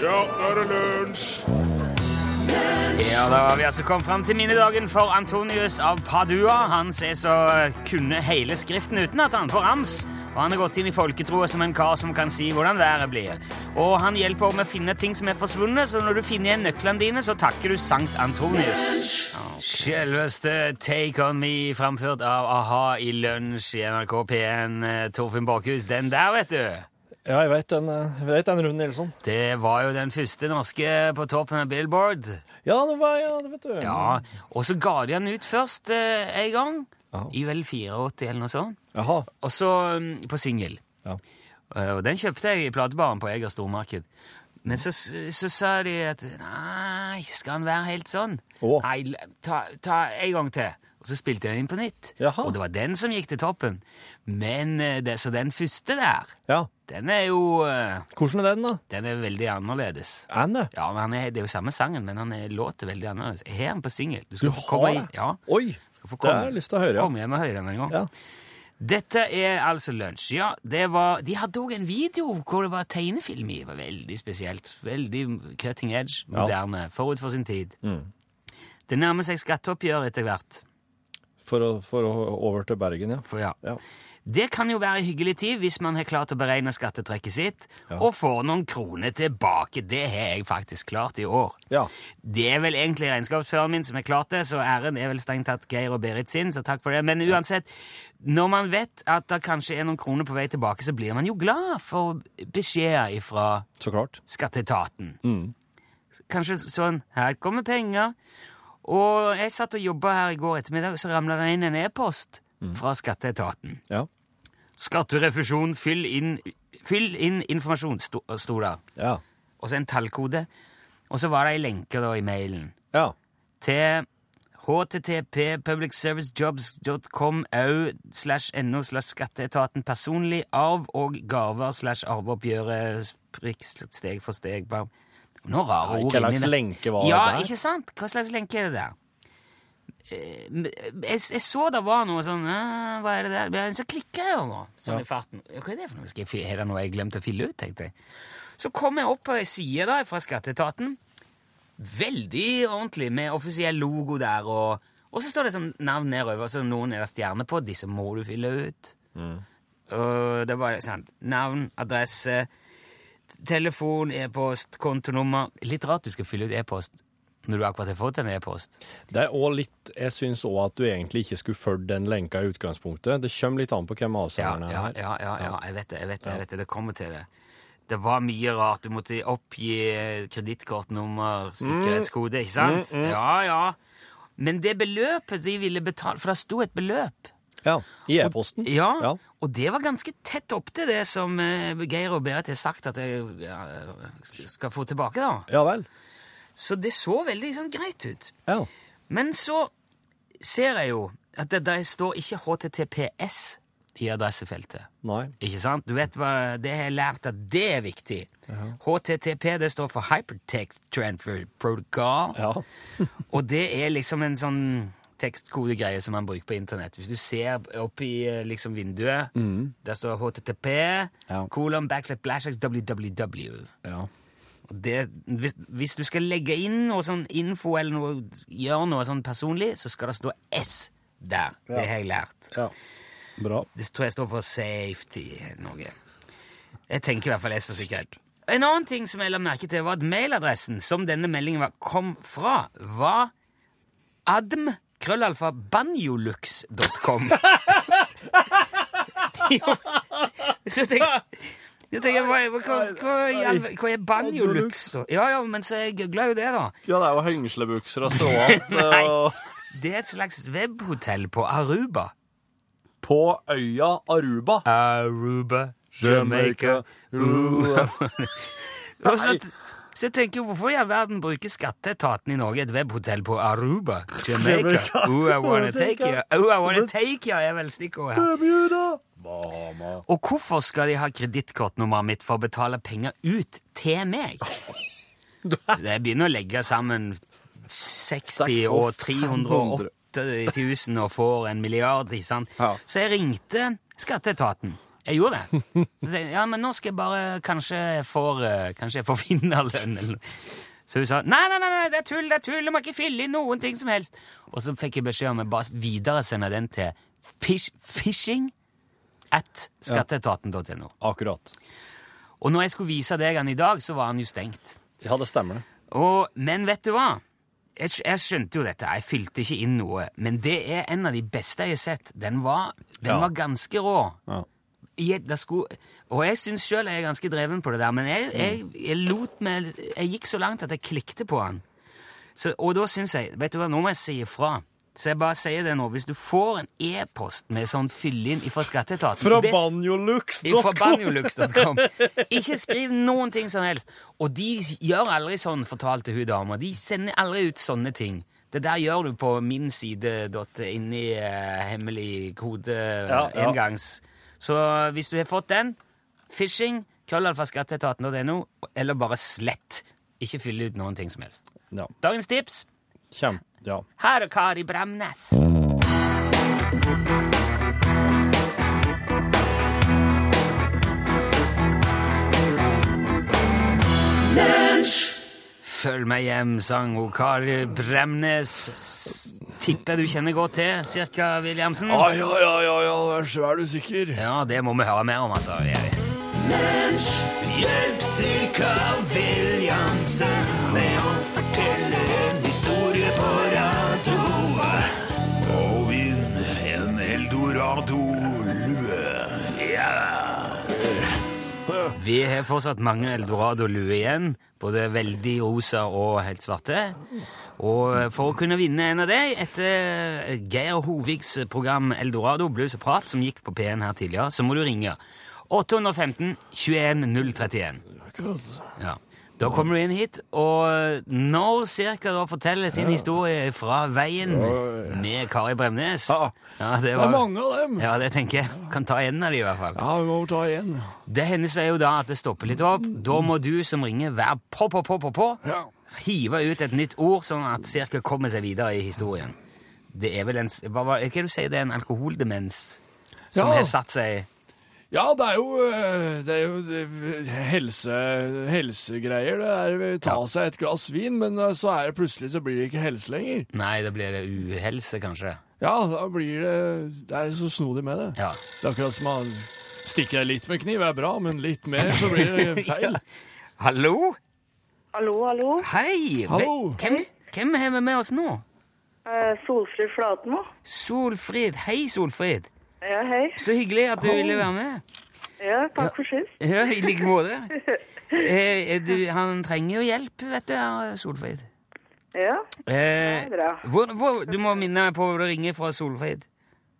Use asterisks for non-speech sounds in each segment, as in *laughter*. Ja, nå er det lunsj! Ja, da har vi altså kommet frem til minnedagen for Antonius av Padua. Han ser så eh, kunne hele skriften uten at han får rams. Og han har gått inn i folketroa som en kar som kan si hvordan været blir. Og han hjelper også med å finne ting som er forsvunnet, så når du finner igjen nøklene dine, så takker du Sankt Antonius. Ja, Selveste Take On Me, framført av A-ha i Lunsj i NRK P1. eh, Torfinn Borkhus, den der, vet du. Ja, jeg vet den, eh, jeg vet den Rune Nilsson. Det var jo den første norske på toppen av Billboard. Ja, det var ja, det vet du. Ja, og så ga de han ut først eh, en gang, i vel 84 eller noe sånt, Jaha. og så mm, på singel. Ja. Eh, og den kjøpte jeg i platebaren på Eger Stormarked. Men så, s- så sa de at nei, skal han være helt sånn? Å. Nei, l- ta, ta en gang til. Og så spilte jeg den inn på nytt. Jaha. Og det var den som gikk til toppen. Men eh, det, så den første der, ja. den er jo eh, Hvordan er den, da? den er veldig annerledes. Er den det? Ja, men han er, Det er jo samme sangen, men han er låter veldig annerledes. Jeg har den på singel. Du Du skal få komme har det? i- Ja, Oi! du får Det komme. har jeg lyst til å høre. Kom hjem og høre den en gang. Ja. Dette er altså lunsj. Ja, det var, de hadde òg en video hvor det var tegnefilm i. Det var veldig spesielt. Veldig cutting edge, Ja. moderne, forut for sin tid. Det nærmer seg skatteoppgjør etter hvert. For å, for å over til Bergen, ja. For ja. Ja. Det kan jo være hyggelig tid hvis man har klart å beregne skattetrekket sitt, og får noen kroner tilbake. Det har jeg faktisk klart i år. ja. Det er vel egentlig regnskapsføreren min som har klart det, så æren er vel strengt tatt Geir og Berit sin, så takk for det. Men uansett, når man vet at det kanskje er noen kroner på vei tilbake, så blir man jo glad for beskjeder ifra Så klart. skatteetaten. Kanskje sånn 'Her kommer penger'. Og jeg satt og jobba her i går ettermiddag, så ramla det inn en e-post fra skatteetaten. Ja. Skatterefusjon, fyll inn, fyll inn informasjon, sto, sto der. Ja. Og så en tallkode. Og så var det ei lenke da i mailen Ja. til http publicservicejobs.com au slash no slash skatteetaten personlig arv og gaver slash arveoppgjøret prikk steg for steg bam. Noen rare Hva ord slags inni det. lenke var Ja, dette her? ikke sant? Hva slags lenke er det der? Eh, men, eh, Jeg, jeg så det var noe sånn eh, Hva er det der? Men så klikka jeg jo nå, sånn i farten. Hva er det for noe? Skal jeg, fi- er det noe jeg glemte å fylle ut, tenkte jeg. Så kom jeg opp på ei side da, fra Skatteetaten. Veldig ordentlig, med offisiell logo der. Og, og så står det sånn navn nedover, så noen er det stjerne på. Disse må du fylle ut. Og det var sant. Navn, adresse, t- telefon, e-post, kontonummer. Litt rart du skal fylle ut e-post når du akkurat har fått en e-post. Det er også litt Jeg syns òg at du egentlig ikke skulle fulgt den lenka i utgangspunktet. Det kommer litt an på hvem Ja, avsenderen ja, er. her. ja, ja, ja, jeg vet det, jeg vet det, jeg vet det. Det kommer til det. Det var mye rart. Du måtte oppgi Mm, kredittkortnummer, sikkerhetskode, ikke sant? Ja, ja. Men det beløpet de ville betale For det sto et beløp. Ja. I e-posten. Ja, Ja. og det var ganske tett opp til det som eh, Geir og Berit har sagt at jeg ja, skal få tilbake, da. Ja vel. Så det så veldig sånn greit ut. Ja. Men så ser jeg jo at det der står ikke HTTPS i adressefeltet. Nei. Ikke sant? Du vet hva det har jeg lært at det er viktig. HTTP det står for Hypertext Transfer Protocol. Ja. *laughs* Og det er liksom en sånn tekstkodegreie som man bruker på internett. Hvis du ser opp i eh, liksom vinduet, der står HTTP, Ja. kolon, backslash, blashlash, www. Ja. Og Det, hvis, hvis du skal legge inn noe sånn info eller noe, gjøre noe sånn personlig, så skal det stå S der. Det har jeg lært. ja. Bra. Det tror jeg står for safety noe. Jeg tenker i hvert fall S for sikkerhet. En annen ting som jeg la merke til, var at mailadressen som denne meldingen var, kom fra, var adm.krøllalfa.banjolux.com. *laughs* Jo, så tenker jeg tenker, hva, hva, hva, hva, i all ver- hva er banjolux, da? Ja, ja, men så jeg googla jo det, da. Ja, det er jo hengslebukser og *laughs* ståant Det er et slags webhotell på Aruba. På øya Aruba. Aruba, Jamaica, Aruba. Og så, så jeg tenker jeg, hvorfor i all verden bruker skatteetaten i Norge et webhotell på Aruba, Jamaica? Jamaica. Oh, I wanna take you. Oh, I wanna take you, er vel stikkordet her. Bermuda. Bahama. Og hvorfor skal de ha kredittkortnummeret mitt for å betale penger ut til meg? Så jeg begynner å legge sammen 60 og 308 000 og får en milliard, ikke sant? Ja. Så jeg ringte skatteetaten. Jeg gjorde det. Så sa jeg, ja, men nå skal jeg bare Kanskje jeg får, eh, kanskje jeg får *laughs* vinnerlønn, eller noe. Så hun sa nei, nei, nei, nei, det er tull, det er tull, du må ikke fylle i noen ting som helst. Og så fikk jeg beskjed om å bare videresende den til fish, phishing at skatteetaten.no. Akkurat. Og når jeg skulle vise deg han i dag, så var han jo stengt. Ja, det stemmer. det. Og, men vet du hva? Jeg, skj- jeg skjønte jo dette, jeg fylte ikke inn noe. Men det er en av de beste jeg har sett. Den var, den Ja. var ganske rå. Ja. I et- det skulle, og jeg syns sjøl jeg er ganske dreven på det der, men Mm. jeg, jeg, jeg lot meg Jeg gikk så langt at jeg klikte på han. Så, og da syns jeg Vet du hva, nå må jeg si ifra. Så jeg bare sier det nå. Hvis du får en e-post med sånn fyll-inn fra skatteetaten det- fra banjolux.com! banjolux.com. Ikke skriv noen ting som helst. Og de gjør aldri sånn, fortalte hun dama. De sender aldri ut sånne ting. Det der gjør du på min side dot, inni eh, hemmelig kode Ja, ja. engangs. Så hvis du har fått den, phishing, krøllalfa skatteetaten.no, eller bare slett. Ikke fyll ut noen ting som helst. Ja. Dagens tips Kjem. Ja. her er Kari Bramnes. Følg meg hjem, sang hun Kari Bremnes. S- Tipper du kjenner godt til, cirka, Williamsen? ja, ja, ja, ja, vær så er du sikker. Ja, det må vi høre mer om, altså. Hjelp cirka Williamsen med å fortelle en historie på radio. Og vinn en eldorado-lue. Vi har fortsatt mange eldorado-luer igjen, både veldig rosa og helt svarte. Og for å kunne vinne en av dem, etter Geir Hoviks program Eldorado blues og prat, som gikk på P1 her tidligere, så må du ringe 815 21 031. Ja. Da kommer du inn hit, og når cirka da forteller sin historie fra veien med Kari Bremnes Ja. det, Det var, er mange av dem. Ja, det tenker jeg. Kan ta en av de i hvert fall. Ja, vi må ta igjen. Det hender seg jo da at det stopper litt opp. Da må du som ringer være på, på, på, på, på. Hive ut et nytt ord, sånn at cirka kommer seg videre i historien. Det er vel en s- hva, var- Hva du sier det er en alkoholdemens som Ja. har satt seg Ja, det er jo, eh, det er jo det- helse, helsegreier. Det er å ta Ja. seg et glass vin, men eh, så er det plutselig så blir det ikke helse lenger. Nei, da blir det uhelse, kanskje. Ja, da blir det Det er så snodig med det. Ja. Det er akkurat som å stikke deg litt med kniv er bra, men litt mer så *laughs* blir det feil. Hallo? Hallo, hallo. Hei! Hallo. Ve- Hvem, s- hvem har vi med oss nå? Eh, Solfrid Flatemo. Solfrid. Hei, Solfrid. Ja, hei. Så hyggelig at du ville være med. Ja, takk for sist. Ja, I like måte. Eh, eh, du, han trenger jo hjelp, vet du, Solfrid. *laughs* Ja, Eh, bra. hvor, hvor, du må minne meg på hvor du ringer fra Solfrid.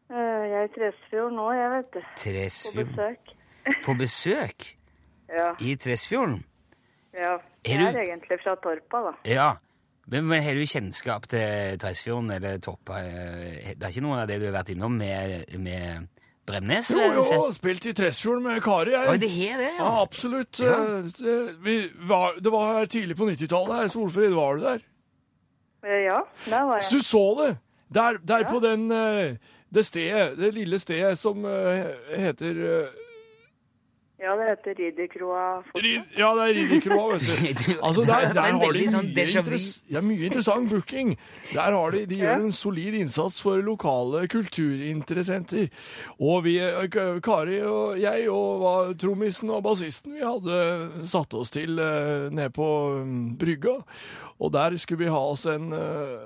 Eh, jeg er i Tresfjord nå, jeg vet det. På Tresfjorden. besøk. På besøk Ja, i Tresfjorden? ja. Er du- Jeg er egentlig fra Torpa, da. Ja. Men, men har du kjennskap til Tresfjorden eller Toppa? Eh, Det er ikke noe av det du har vært innom med, med Bremnes? Jo, eller? jo, spilt i Tresfjorden med Kari, jeg. Å, det har det, ja. Ja, absolutt. Eh, det- Vi var, det var her tidlig på 90-tallet. her, Solfrid, var du der? Eh, ja, der var Hvis jeg. du så det, der, der på den, eh, det stedet, det lille stedet som eh, heter eh, Ja, det heter Ridderkroa. Rid, Ja, det er Ridderkroa, *laughs* vet du. Altså, Det der, er der en har de veldig mye, sånn déjà vu. interess, ja, mye interessant booking. Der har de, de Ja. gjør en solid innsats for lokale kulturinteressenter. Og vi, eh, K- Kari og jeg og hva- trommisen og bassisten, vi hadde satt oss til eh, ned på mm, brygga. Og der skulle vi ha oss en eh, eh,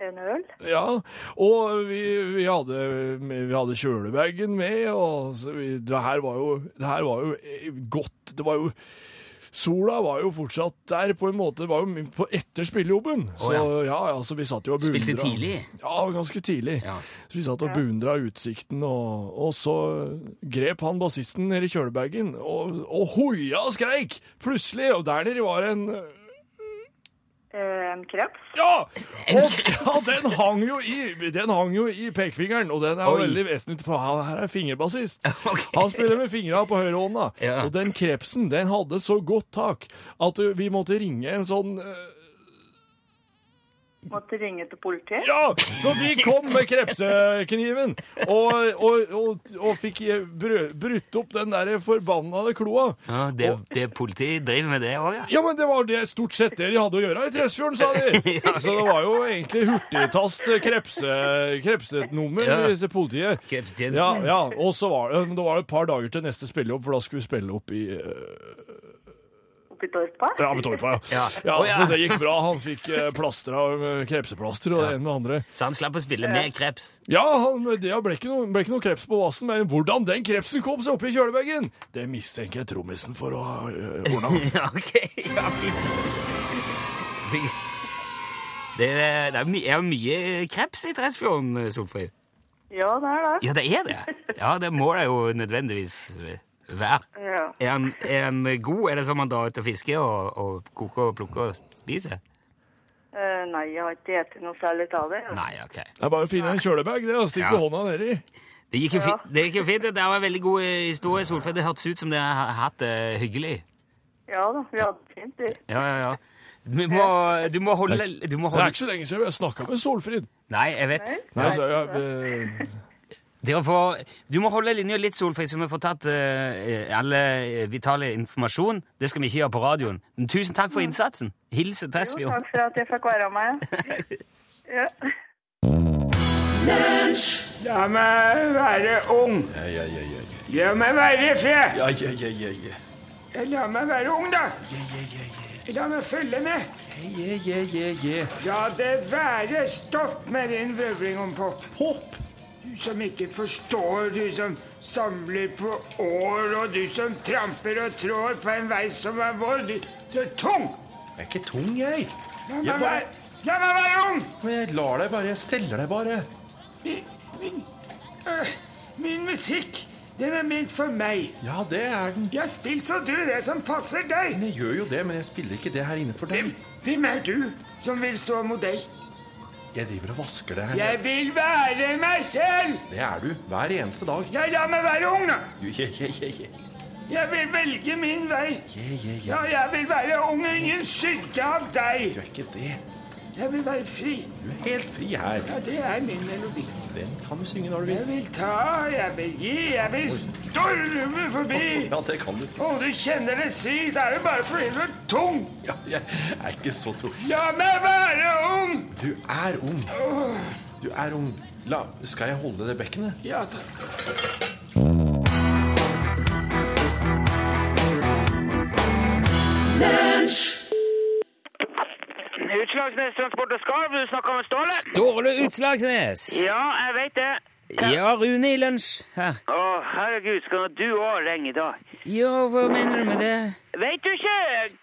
En øl. ja, og vi, vi hadde, vi hadde kjølebagen med, og så vi, det, her var jo, det her var jo eh, godt. Det var jo Sola var jo fortsatt der, på en måte. Det var jo på etter spillejobben. Så Å, ja. ja. ja, så vi satt jo og beundra Spilte tidlig? Ja, ganske tidlig. Ja. Så vi satt og beundra utsikten, og, og så grep han bassisten ned i kjølebagen, og, og hoia og skreik! Plutselig! Og der nede var en Eh, en kreps. ja! Og, ja, den hang jo i, den hang jo i pekefingeren, og den er jo Oi. veldig vesentlig, for han her er fingerbassist. *laughs* Ok. Han spiller med fingra på høyrehånda, Ja. og den krepsen, den hadde så godt tak at ø, vi måtte ringe en sånn ø, Måtte ringe til politiet? Ja! Så de kom med krepsekniven og, og, og, og fikk brø- brutt opp den der forbannede kloa. Ja, det, det Politiet driver med det òg, ja. Ja, men det var det, stort sett det de hadde å gjøre i Tresfjorden, sa *laughs* de. Så det var jo egentlig hurtigtast krepse, krepsenummer Ja. hvis det politiet. Krepsetjenesten. Ja, ja. Og så var det, men det var et par dager til neste spillejobb, for da skulle vi spille opp i eh, Oppi Torpa? Ja, på Torpa, ja. Ja. ja. Å, ja. Så det gikk bra. Han fikk eh, plaster av eh, krepseplaster og det ene med det andre. Så han slapp å spille med kreps. Ja, han, det ble ikke, noe, ble ikke noe kreps på vasen, men hvordan den krepsen kom seg opp i kjølebagen, det mistenker jeg trommisen for å ha øh, ordna. *laughs* Ja, ok. Ja, fint. Det er, det er, my er mye kreps i Tresfjorden, Solfrid. Ja, det er det. Ja, det er det. Ja, det må det jo nødvendigvis være. *laughs* Ja. Er han, er han god? Er det sånn man drar ut og fisker og, og koker og plukker og spiser? Eh, nei, jeg har ikke spist noe særlig av det. Nei, ok. Det er bare å finne en kjølebag, det, og stikke Ja. hånda nedi. Det gikk jo Ja. fint. Det gikk jo fint. Det var en veldig god eh, historie, Solfrid. Det hørtes ut som dere har hatt det hyggelig. Ja da, vi hadde det fint. vi. Ja, ja, ja. Du må, du må holde, du må Det er holde. ikke så lenge siden jeg snakka med Solfrid. Nei, jeg vet. Nei, så jeg, øh, Dere får, du må holde linja litt, Solfrid, så vi får tatt eh, alle vitale informasjon. Det skal vi ikke gjøre på radioen. Men tusen takk for innsatsen. Hils Jo, Tresfjord. takk for at jeg fikk være med. Ja. La meg være ung. La meg være i fred. Ja, ja, ja, ja, ja. La meg være ung, da. La meg følge med. La det være stopp med din vrøvling om pop. Pop? Du som ikke forstår, du som samler på år, og du som tramper og trår på en vei som er vår. Du, du er tung. Jeg er ikke tung, jeg. La Jeg meg bare- være, la meg være ung. Og jeg lar deg bare. Jeg steller deg bare. Min, øh, min musikk, den er ment for meg. Ja, det er den. Ja, spill så du det som passer deg. Men Jeg gjør jo det, men jeg spiller ikke det her inne for deg. Hvem, hvem er du som vil stå mot deg? Jeg driver og vasker det her. Jeg vil være meg selv! Det er du. Hver eneste dag. Ja, la meg være ung, da. Du, je, je, je, je. Jeg vil velge min vei. Je, je, je. Ja, jeg vil være ung, ingen skygge av Du deg. er ikke det. Jeg vil være fri. Du er helt fri her. Ja, det er min melodi. Den kan du synge når du Jeg vil. vil ta, jeg vil gi, jeg vil storme forbi. Ja, det kan du. Å, du kjenner det si, det er jo bare fordi du er tung. Ja, jeg er ikke så tung. La meg være ung! Du er ung. Du er ung. La, skal jeg holde det bekkenet? Ja, takk. Utslagsnes Transport og Skarv, du snakker med Ståle? Ståle Utslagsnes! Ja, jeg vet det. Ja, Rune i lunsj her. Å, herregud, skal du òg ringe i dag? Ja, hva mener du med det? Vet du ikke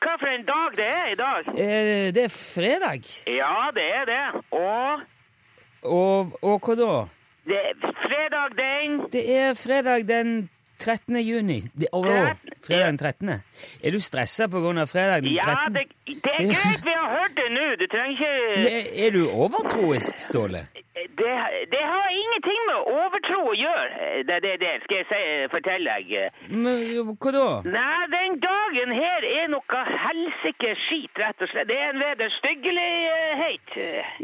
hva for en dag det er i dag? Eh, det er fredag. Ja, det er det. Og Og, og hva da? det er fredag den Det er fredag den 13. juni. Det, å, Tretten- fredag den 13. Er du stressa på grunn av fredag den 13.? Ja, det, det er greit, vi har hørt det nå. Du trenger ikke Er, er du overtroisk, Ståle? Det, det har ingenting med overtro å gjøre, det, det der, skal jeg si, fortelle deg. Men, hva da? Nei, den dagen her er noe helsike skit, rett og slett. Det er en eh, vederstyggelighet.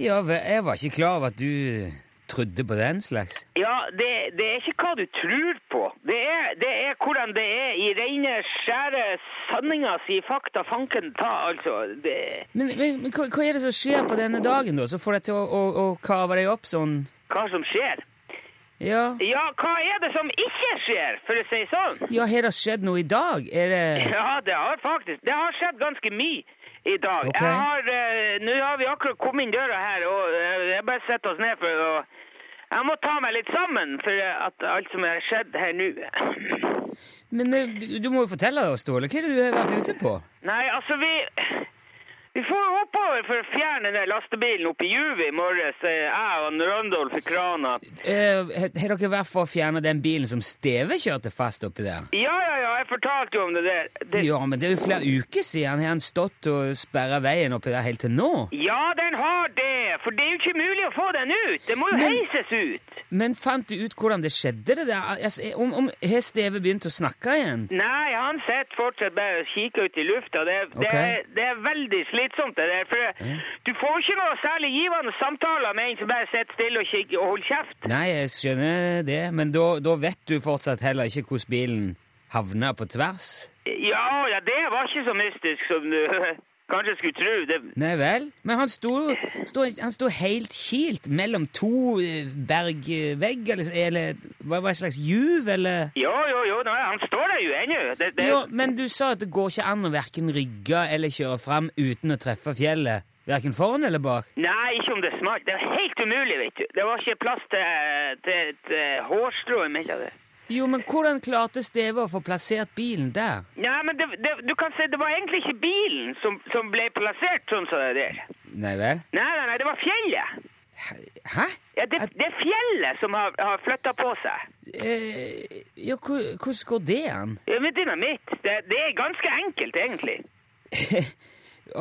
Ja, vel, jeg var ikke klar over at du trodde på den slags. Ja, det, det er ikke hva du tror på. Det er, det er hvordan det er i rene, skjære sanninga si fakta fanken ta, altså. Det, Men, men, men hva, hva er det som skjer på denne dagen, da? Så får deg til å, å, å kave deg opp sånn? hva som skjer. Ja, Ja, hva er det som ikke skjer, for å si sånn? ja har det skjedd noe i dag? Er det Ja, det har faktisk Det har skjedd ganske mye i dag. Ok. Jeg har eh, Nå har vi akkurat kommet inn døra her, og eh, jeg bare setter oss ned for å Jeg må ta meg litt sammen for eh, at alt som har skjedd her nå *clears throat* Men eh, du, du må jo fortelle oss, Ståle. Hva er det du har vært ute på? Nei, altså, vi Vi får jo oppover for å fjerne den lastebilen opp i juvet i morges, eh, jeg og Randolf i krana. Eh, Har har dere vært for å fjerne den bilen som Steve kjørte fast oppi der? Ja, ja, ja, jeg fortalte jo om det der. Det, Ja, men det er jo flere uker siden. Har han stått og sperra veien oppi der helt til nå? Ja, den har det, det, for det er jo ikke mulig å få den ut. Det må jo Men- heises ut. Men fant du ut hvordan det skjedde? det der? Altså, om, om Har Steve begynt å snakke igjen? Nei, han sitter fortsatt bare og kikker ut i lufta. Det, det, Ok. er, det er veldig slitsomt, det der. For du får ikke noe særlig givende samtaler med en som bare sitter stille og kikker og holder kjeft. Nei, jeg skjønner det, men da, da vet du fortsatt heller ikke hvordan bilen havna på tvers? Ja, ja, det var ikke så mystisk som du *laughs* kanskje skulle tro. Det, Nei vel? Men han sto, sto, han sto helt kilt mellom to eh, bergvegger, liksom, eller hva var det slags juv, eller? jo, jo, jo, nei, han står der jo ennå. Det, det, Jo, men du sa at det går ikke an å verken rygge eller kjøre fram uten å treffe fjellet. Verken foran eller bak. Nei, ikke om det smalt. Det var helt umulig, vet du. Det var ikke plass til, til et eh, hårstrå imellom det. Jo, men hvordan klarte Steve å få plassert bilen der? Nei, men det, det, du kan si det var egentlig ikke bilen som, som ble plassert sånn som det der. Nei vel? Nei, nei, nei, det var fjellet. Hæ? Ja, det, det er fjellet som har, har flytta på seg. Eh, jo, hvor- hvordan går det an? Ja, Med dynamitt. Det, det er ganske enkelt, egentlig.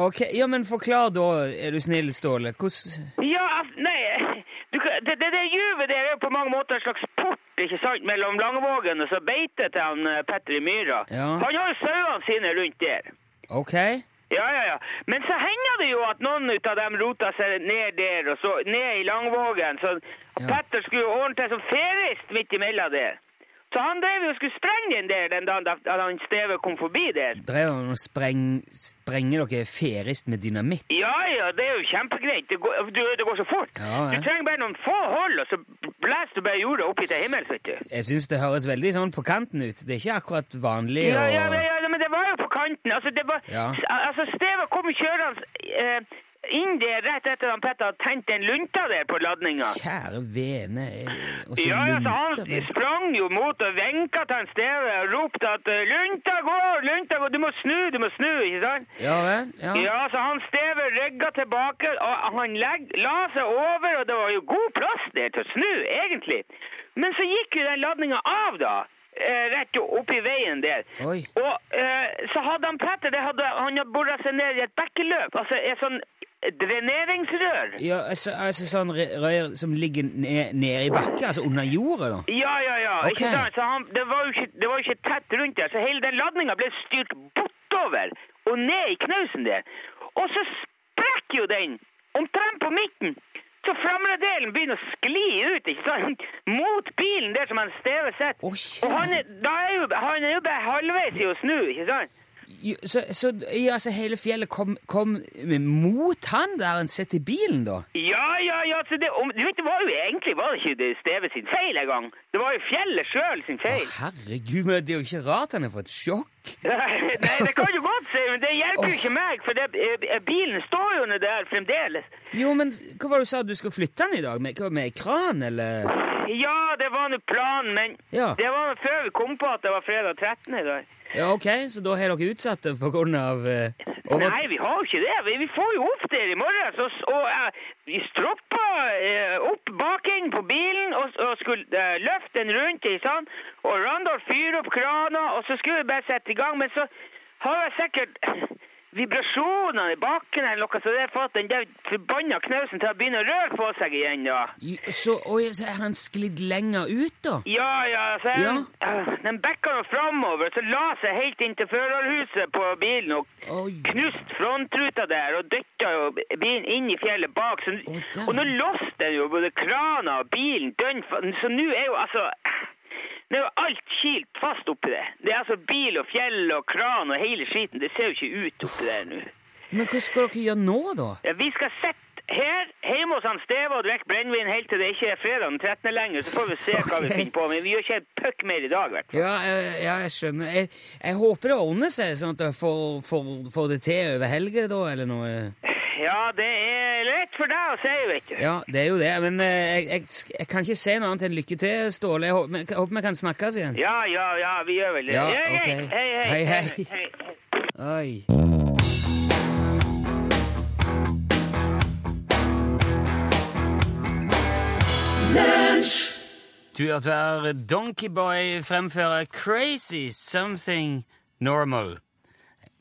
Ok, ja, men forklar da, er du snill, Ståle. Hvordan Ja, al- nei *laughs* du, kan- Det, det, det juvet der er jo på mange måter en slags port ikke sant, mellom Langevågen og så beitet til han eh, Petter i Myra. Ja. Han har jo sauene sine rundt der. Ok. Ja, ja, ja. Men så hender det jo at noen ut av dem rota seg ned der, og så ned i Langvågen. Så og Ja. Petter skulle jo ordne til som ferist midt imellom der. Så han drev jo og skulle sprenge den der den dagen da da han Steve kom forbi der. Drev han og spreng, sprenger dere ferist med dynamitt? Ja, ja, det er jo kjempegreit. Det går, du, det går så fort. Ja, ja. Du trenger bare noen få hold, og så blæser du bare jorda opp i til himmels, vet du. Jeg syns det høres veldig sånn på kanten ut. Det er ikke akkurat vanlig Ja, ja, å- ja, ja, men det var jo på kanten. Altså, det var, Ja. al- altså Steve kom kjørende eh, inn der rett etter at Petter hadde tent den lunta der på ladninga. Kjære vene eh, og så Ja, ja, så lunter han med- sprang jo mot og venka til han Steve og ropte at eh, 'Lunta går! Lunta går! Du må snu! Du må snu!' ikke sant? Ja vel? Ja. Ja, så han Steve rygga tilbake, og han legg, la seg over, og det var jo god plass der til å snu, egentlig. Men så gikk jo den ladninga av, da. eh, Rett jo opp i veien der. Oi. Og eh, så hadde han Petter det hadde, Han hadde bora seg ned i et bekkeløp, altså et sånn dreneringsrør. Ja, altså, altså sånn re- rør som ligger nede ned i bakken, altså under jorda, da? Ja, ja, ja. Ok. Ikke sant? Så han, det, var jo ikke, det var jo ikke tett rundt der, så hele den ladninga ble styrt bortover og ned i knausen der. Og så sprekk jo den omtrent på midten. Så fremre delen begynner å skli ut, ikke sant? Mot bilen der som han Steve sitter. Å, kjære. og han er, da er jo, han er jo bare halvveis i å snu, ikke sant? Jo, Så, så ja, altså, hele fjellet kom, kom mot han der han sitter i bilen, da? Ja, ja, ja. Så det, om, du vet, det var jo egentlig var det ikke det Steve sin feil engang. Det var jo fjellet sjøl sin Å, feil. herregud, men det er jo ikke rart han har fått sjokk. *laughs* Nei, det kan du godt si, men det hjelper jo ikke meg, for det, eh, bilen står jo nede der fremdeles. Jo, men hva var det du sa du skulle flytte han i dag? Med, hva, med kran, eller? Ja, det var nå planen, men Ja. det var nå før vi kom på at det var fredag 13. i dag. Ja, ok, så da har dere utsatt det på grunn av eh, over- Nei, vi har jo ikke det. Vi, vi får jo opp der i morgen, så, s- og eh, vi stroppa eh, opp bakenden på bilen og, s- og skulle eh, løfte den rundt, ikke sant? Og Randolph fyrer opp krana, og så skulle vi bare sette i gang, men så har jeg sikkert *clears throat* vibrasjoner i bakken eller noe, så det har fått den der forbanna knausen til å begynne å røre på seg igjen, da. Jo, Så, oi, så er han sklidd lenger ut, da? Ja, ja, så Ja. den, øh, den bekka nå framover, så la seg helt inn til førerhuset på bilen og Oi. knust frontruta der og dytta jo bilen inn i fjellet bak. Så, Å, der. og nå låste jo både krana og bilen dønn fa- Så nå er jo altså Nå er jo alt kilt fast oppi det. Det er altså bil og fjell og kran og hele skiten. Det ser jo ikke ut oppi der nå. Men hva skal dere gjøre nå, da? Ja, vi skal sitte her hjemme hos han Steve og drikke brennevin helt til det ikke er fredag den 13. lenger, så får vi se hva vi Ok. finner på. Men vi gjør ikke en puck mer i dag, i hvert fall. Ja, jeg, ja, jeg skjønner. Jeg, jeg håper det ordner seg, sånn at jeg får, får, får det til over helga, da, eller noe. Ja, det er lett for deg å si, vet du. Ja, det er jo det, men eh, jeg, jeg, sk- jeg kan ikke si noe annet enn lykke til, Ståle. Jeg håper, jeg håper vi kan snakkes igjen. Ja, ja, ja, vi gjør vel det. Ja, Ja, greit. ok. Hei, Hei, hei. hei. hei. Oi. Du hørte her Donkeyboy fremføre Crazy Something Normal.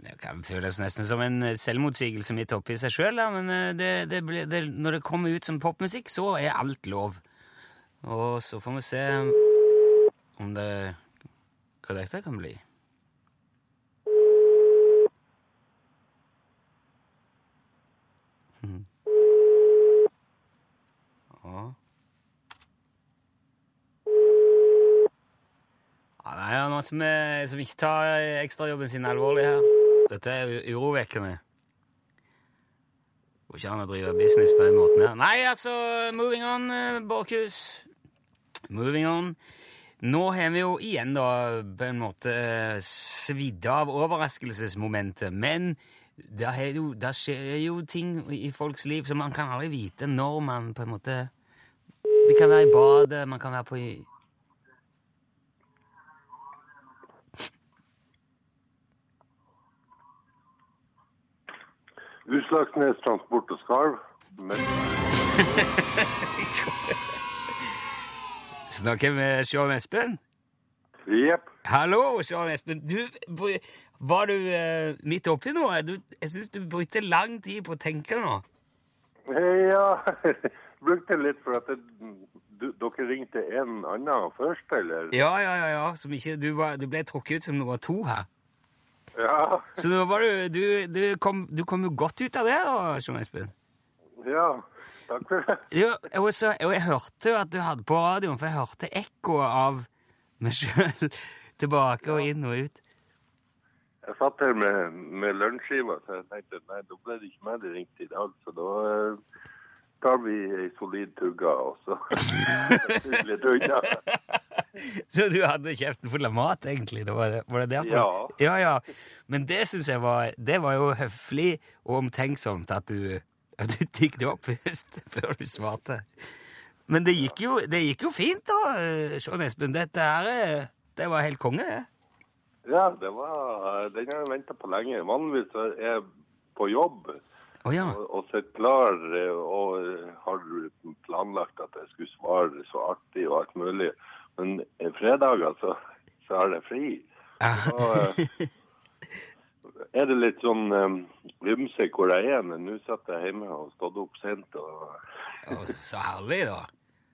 Det kan føles nesten som en eh, selvmotsigelse midt oppe i seg sjøl, men eh, det, det blir- det, når det kommer ut som popmusikk, så er alt lov. Og så får vi se om det Hva dette kan bli. Mhm. Ja. Ja, nei, det er noen som, eh, som ikke tar eh, ekstrajobben sin alvorlig her. Dette er u- urovekkende. Går ikke an å drive business på den måten her. Nei, altså, moving on, eh, Borkhus. Moving on. Nå har vi jo igjen da på en måte eh, svidd av overraskelsesmomentet, men det er jo, det skjer jo ting i folks liv som man kan aldri vite når man på en måte Det kan være i badet, man kan være på i- Utslagsnes Transport og Skarv. Men Snakker med Sjøen Espen? jepp, Hallo, Sjøen Espen. Du, br- var du eh, midt oppi noe? Du, jeg syns du brukte lang tid på å tenke nå. ja *laughs* Brukte litt for at det, du, dere ringte en annen først, eller? Ja, ja, ja, ja. Som ikke, du, var, du ble trukket ut som nummer to her. Ja. Så nå var du Du, du, kom, du kom jo godt ut av det, da, Sjøen Espen. ja. Takk for det. Jo, og, så, og jeg hørte jo at du hadde på radioen, for jeg hørte ekkoet av meg sjøl *laughs* tilbake og inn og ut. Jeg satt her med, med lunsjskiva, så jeg tenkte nei, da ble det ikke meg det ringte i dag, så da eh, tar vi ei solid tugga, og så Tugger *laughs* litt unna. Så du hadde kjeften full av mat, egentlig? Det var, det, var det derfor? Ja. ja, ja. Men det syns jeg var Det var jo høflig og omtenksomt at du, at du tygde opp *laughs* først, før du svarte. Men det gikk jo, det gikk jo fint, da, eh, Sjån Espen. Dette her eh, Det var helt konge, det. Ja, det var Den har jeg venta på lenge. Vanligvis er jeg på jobb. *laughs* Å ja. og, og sett klar eh, og eh, har planlagt at jeg skulle svare så artig og alt mulig. Men eh, fredager så, så har jeg fri. Så *laughs* eh, er det litt sånn eh, ymse hvor jeg er, men nå satt jeg hjemme og stått opp sent. Og, Å, Så herlig, da. *laughs*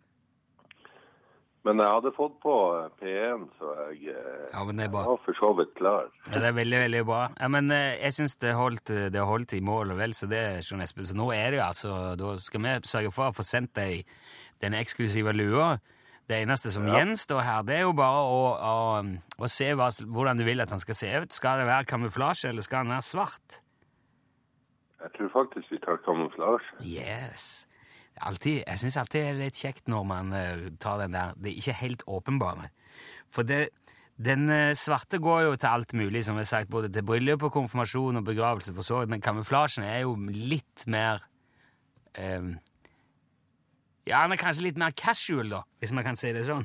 men jeg hadde fått på eh, P1, så jeg eh, Ja, men det er bra. var for så vidt klar. Ja, det er veldig, veldig bra. Ja, men eh, jeg syns det holdt, eh, det holdt i mål og vel, så det, Sjøen Espen. Så nå er det jo altså Da skal vi sørge for å få sendt deg den eksklusive lua. Det eneste som gjenstår her, det er jo bare å, å, å se hva, sl- hvordan du vil at den skal se ut. Skal det være kamuflasje, eller skal den være svart? Jeg tror faktisk vi tar kamuflasje. Yes. Altid, jeg syns alltid det er litt kjekt når man eh, tar den der Det er ikke helt åpenbare. For det, den eh, svarte går jo til alt mulig, som jeg har sagt, både til bryllup og konfirmasjon og begravelse, for så vidt, men kamuflasjen er jo litt mer eh, Ja, den er kanskje litt mer casual, da, hvis man kan si det sånn.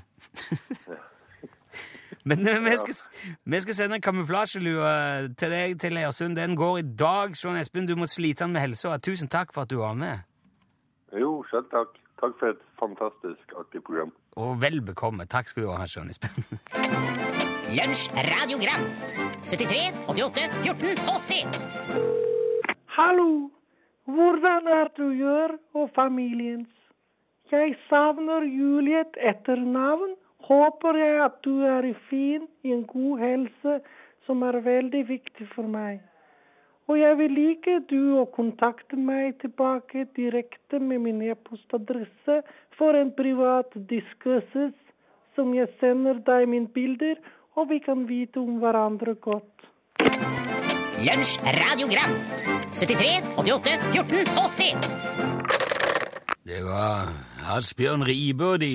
*laughs* Men eh, vi skal, vi skal sende kamuflasjelua til deg til Lersund. Den går i dag, Sjøen Espen. Du må slite den med helsa. Tusen takk for at du var med. Jo, sjøl takk. Takk for et fantastisk artig program. Og vel bekomme. Takk skal du ha, Sjøen Espen. Lunsj, radiogram 73, 88, 14, 80 Hallo! Hvordan er du, Jør, og familiens? Jeg savner Juliet etter navn. Håper jeg at du er i fin, i en god helse, som er veldig viktig for meg. Og jeg vil like du å kontakte meg tilbake direkte med min e-postadresse for en privat diskussus, som jeg sender deg mine bilder, og vi kan vite om hverandre godt. Lunsj, radiogram 73, 88, 14, 80 *laughs* Det var Asbjørn Ribe og de.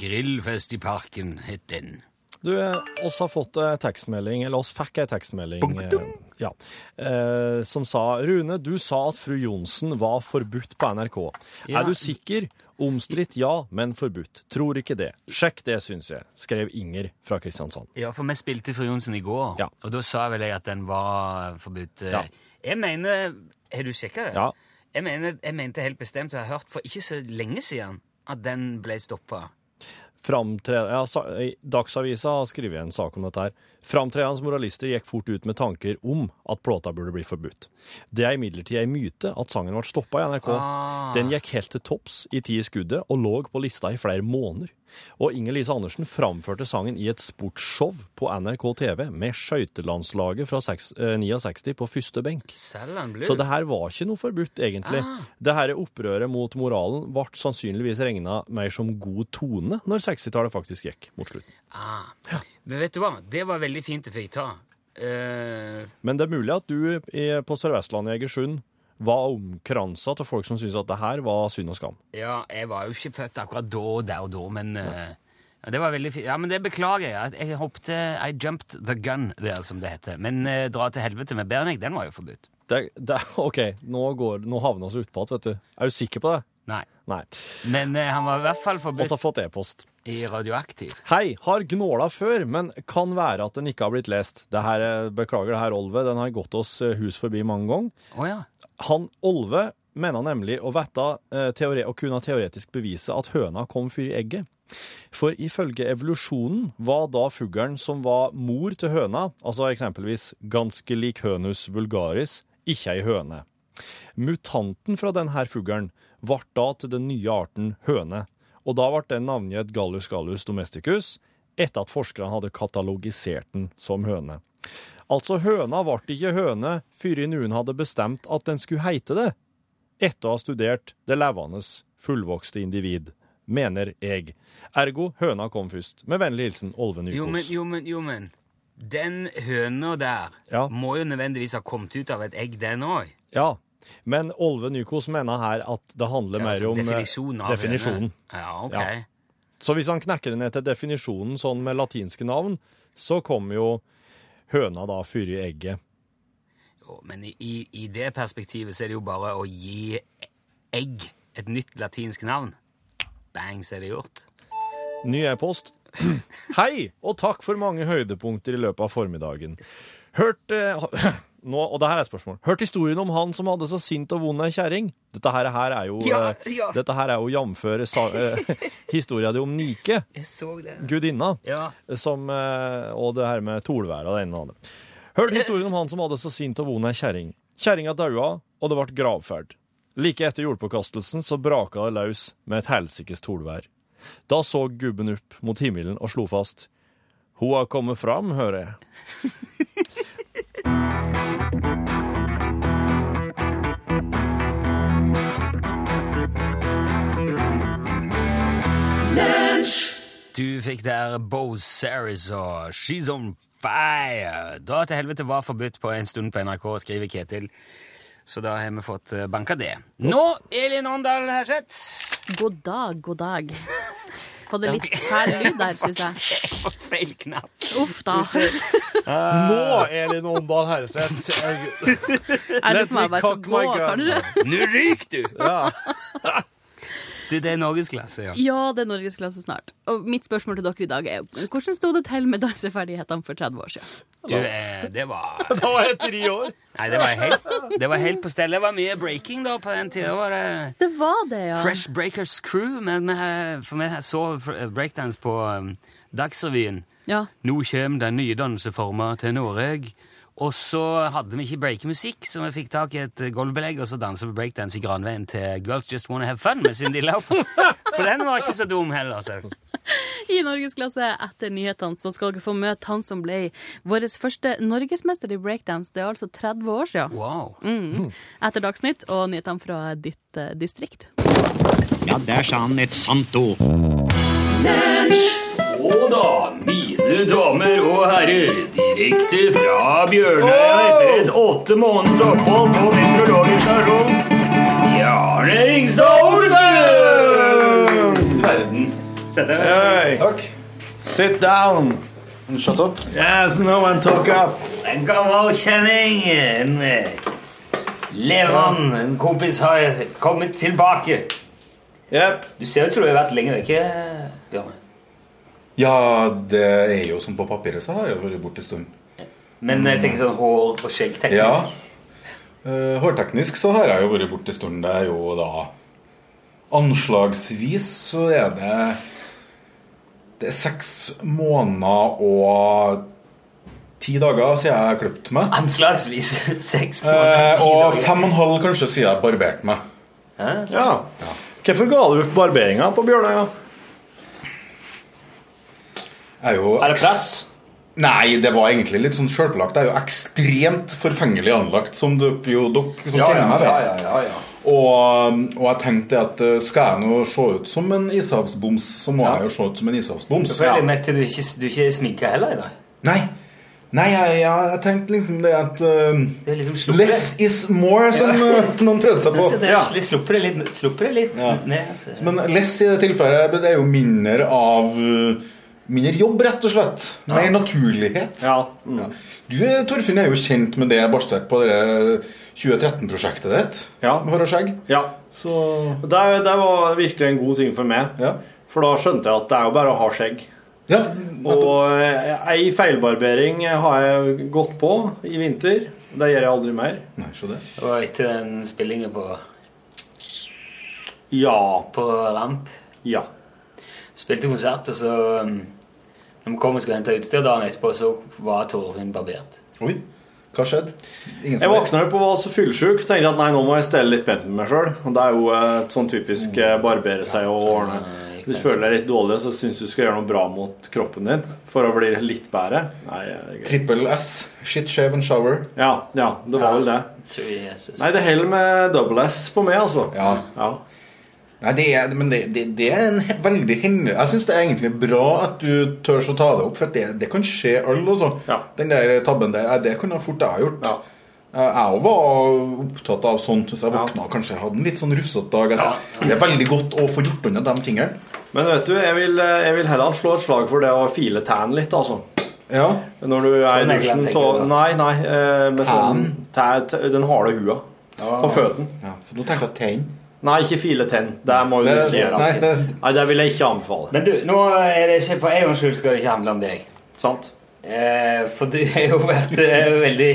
Grillfest i parken het den. Du, eh, oss har fått eh, tekstmelding, eller oss fikk ei tekstmelding eh, ja, eh, som sa Rune, du sa at fru Johnsen var forbudt på NRK. Ja. Er du sikker? Omstridt ja, men forbudt. Tror ikke det. Sjekk det, syns jeg, skrev Inger fra Kristiansand. Ja, for vi spilte Fru Johnsen i går, og da sa vel jeg at den var forbudt. Ja. Jeg mener Har du sjekka det? Ja. Jeg, mener, jeg mente helt bestemt, og jeg har hørt for ikke så lenge siden, at den ble stoppa. Framtre... Ja, sa- eh, Dagsavisa har skrevet en sak om dette her. Framtredende moralister gikk fort ut med tanker om at plata burde bli forbudt. Det er imidlertid ei myte at sangen ble stoppa i NRK. Ah. Den gikk helt til topps i ti i skuddet og lå på lista i flere måneder. Og Inger Lise Andersen framførte sangen i et sportsshow på NRK TV med skøytelandslaget fra seks- eh, 69 på første benk. Selland Blue. Så det her var ikke noe forbudt, egentlig. Ah. Det her opprøret mot moralen ble sannsynligvis regna mer som god tone når 60-tallet faktisk gikk mot slutten. Ah. Men vet du hva? Det var veldig fint du fikk ta. Eh, Men det er mulig at du i, på Sør-Vestlandet i Egersund var omkransa av folk som syntes at det her var synd og skam. ja, jeg var jo ikke født akkurat da og der og da, men eh, ja, det var veldig fint. Ja, men det beklager jeg. at Jeg hoppet I jumped the gun, der, som det heter. Men eh, Dra til helvete med Bernig, den var jo forbudt. Det, det, OK, nå, går, nå havner vi utpå igjen, vet du. Er du sikker på det? Nei. Nei. Men eh, han var i hvert fall forbudt. Og så har fått e-post. I Radioaktiv. Hei, har gnåla før, men kan være at den ikke har blitt lest. Det her, eh, beklager det her, Olve. Den har gått oss eh, hus forbi mange ganger. Å ja. Han Olve mener nemlig å vette eh, teore og kunne teoretisk bevise at høna kom fyr i egget. For ifølge evolusjonen var da fuglen som var mor til høna, altså eksempelvis ganske lik hønus vulgaris, ikke ei høne. Mutanten fra denne fuglen ble da til den nye arten høne, og da ble den navngitt Gallus gallus domesticus etter at forskerne hadde katalogisert den som høne. Altså, høna ble ikke høne før noen hadde bestemt at den skulle heite det, etter å ha studert det levende, fullvokste individ, mener jeg. Ergo, høna kom først. Med vennlig hilsen Olve Jo, men, Nykos. jo, men, jo, men. Den høna der Ja. må jo nødvendigvis ha kommet ut av et egg, den òg. Ja, men Olve Nykos mener her at det handler Ja, mer altså om eh, definisjonen av høne. definisjonen. Ja, ok. Så hvis han knekker det ned til definisjonen sånn med latinske navn, så kommer jo høna da fyr i egget. Jo, Men i, i, i det perspektivet så er det jo bare å gi egg et nytt latinsk navn. Bang, så er det gjort. Ny e-post. *clears throat* Hei, og takk for mange høydepunkter i løpet av formiddagen. Hørt eh, *clears throat* ha- nå, Og det her er et spørsmål. Hørt historien om han som hadde så sint og vond ei kjerring? Dette her, her er jo Ja, eh, ja. Dette her er jo jamføre sa- *laughs* eh, historia di om Nike, Jeg så det. gudinna, Ja. som, eh, og det her med tolværet og det ene og det andre. Hørt historien om han som hadde så sint og vond ei kjerring. Kjerringa daua, og det ble gravferd. Like etter jordpåkastelsen så braka det løs med et helsikes tolvær. Da så gubben opp mot himmelen og slo fast. Hun har kommet fram, hører jeg. Du fikk der Bo Saris og She's On Fire. Dra til helvete var forbudt på en stund på NRK, skriver Ketil. Så da har vi fått eh, banka det. Nå, Elin Åndal Herseth. God dag, god dag. Hadde litt fæl lyd der, syns jeg. *laughs* Feil knapp. Uff da. *laughs* Nå, Elin Åndal *laughs* Herseth. Jeg lurer på om jeg bare skal gå, kanskje. *laughs* Nå ryker du! Du, *laughs* det er norgesklasse, ja. Ja, det er norgesklasse snart. Og mitt spørsmål til dere i dag er jo hvordan sto det til med danseferdighetene for 30 år siden? Du, eh, det var *laughs* Da var jeg tre år. Nei, det var helt, det var helt på stell. Det var mye breaking da på den tida. Det var eh, Det var det, ja. Fresh Breakers Crew, men eh, for meg så eh, breakdance på eh, Dagsrevyen. Ja. Nå kommer den nye danseforma til Norge. Og så hadde vi ikke breakemusikk, så vi fikk tak i et eh, gulvbelegg, og så dansa vi breakdance i Granveien til Girls Just Wanna Have Fun med Cindy Lauper. For den var ikke så dum heller. altså. I norgesklasse etter nyhetene så skal dere få møte han som ble vår første norgesmester i breakdance. Det er altså 30 år siden. Wow. Mm. Etter Dagsnytt og nyhetene fra ditt eh, distrikt. Ja, der sa han et sant ord. Og da, mine damer og herrer, direkte fra Bjørnøya etter et åtte måneders opphold på meteorologisk stasjon, Bjarne Ringstad Olsen! Verden. Sett deg. Takk. Sit down. Shut up. Yes, no one talk up. En gammel kjenning, en eh, Levan, en kompis, har kommet tilbake. Du ser ut som du har vært lenger vekke, eh, Bjarne. Ja, det er jo som på papiret, så har jeg jo vært borte en stund. Men Mm. jeg tenker sånn hår og skjegg teknisk. Ja. Eh, Hårteknisk så har jeg jo vært borte en stund. Det er jo da Anslagsvis så er det Det er seks måneder og ti dager siden jeg klippet meg. *laughs* Anslagsvis seks Eh, måneder. og fem og en halv kanskje siden jeg barberte meg. Ja. Hvorfor ga du opp barberinga på Bjørnøya? Jeg er jo Er det press? Nei, det var egentlig litt sånn sjølpålagt. Jeg er jo ekstremt forfengelig anlagt, som dere jo dere som kjenner meg, vet. Og, og jeg tenkte at eh, skal jeg nå se ut som en ishavsboms, så må jeg jo se ut som en Du ishavsboms. føler meg til du ikke, du ikke er sminket heller i dag. Nei, Nei jeg, jeg, jeg tenkte liksom det at eh, Det er liksom slupper. Less is more, som Ja. eh, noen prøvde seg på. Det er sli- Slupper det litt, slupper det litt ned. Altså. Men less i det tilfellet det er jo mindre av eh, Mindre jobb, rett og slett. Mer naturlighet. Ja. Du, eh, Torfinn, er jo kjent med det basert på det 2013-prosjektet ditt. Ja. Med hår og skjegg. Ja. Det, det var virkelig en god ting for meg. For da skjønte jeg at det er jo bare å ha skjegg. og eh, ei feilbarbering har jeg gått på i vinter. Det gjør jeg aldri mer. Nei, så det. Og etter den spillingen på Ja. På Ramp. Ja. Spilte konsert, og så um, Når vi kom og skulle hente utstyr dagen etterpå, så var Torfinn barbert. Oi, hva skjedde? Ingen Jeg våkna opp og var så fyllesyk. Tenkte at nei, nå må jeg stelle litt pent med meg sjøl. Det er jo et sånn typisk eh, barbere seg og ordne. Du føler deg litt dårlig, så syns du skal gjøre noe bra mot kroppen din for å bli litt bedre. Nei, jeg- Trippel S. Shit, shave and shower. ja, ja, det var vel det. Tror jeg, Jesus. Nei, det holder med double S på meg, altså. Ja. Nei, det er, men det, det, det er en he- veldig hendelig Jeg syns det er egentlig bra at du tør å ta det opp, for at det, det kan skje alle, altså. Den der tabben der, eh, det kunne fort jeg ha gjort. Eh, Jeg òg var opptatt av sånt hvis jeg våkna og kanskje hadde en litt sånn rufsete dag. At Det er veldig godt å få gjort unna de tingene. Men vet du, jeg vil, eh, jeg vil heller slå et slag for det å file tæren litt, altså. Ja. Når du er i Tånegler, dusjen tenker tå- du da? Nei, nei. eh, Med sånn tær, t- den harde hua på føtten. så du tenkte jeg tegn? Nei, ikke file tenn. Det må du Det- ikke gjøre. nei, det- Nei, det vil jeg ikke anbefale. Men du, nå er det ikke, for en gangs skyld skal det ikke handle om deg. Sant. Eh, for du har jo vært eh, veldig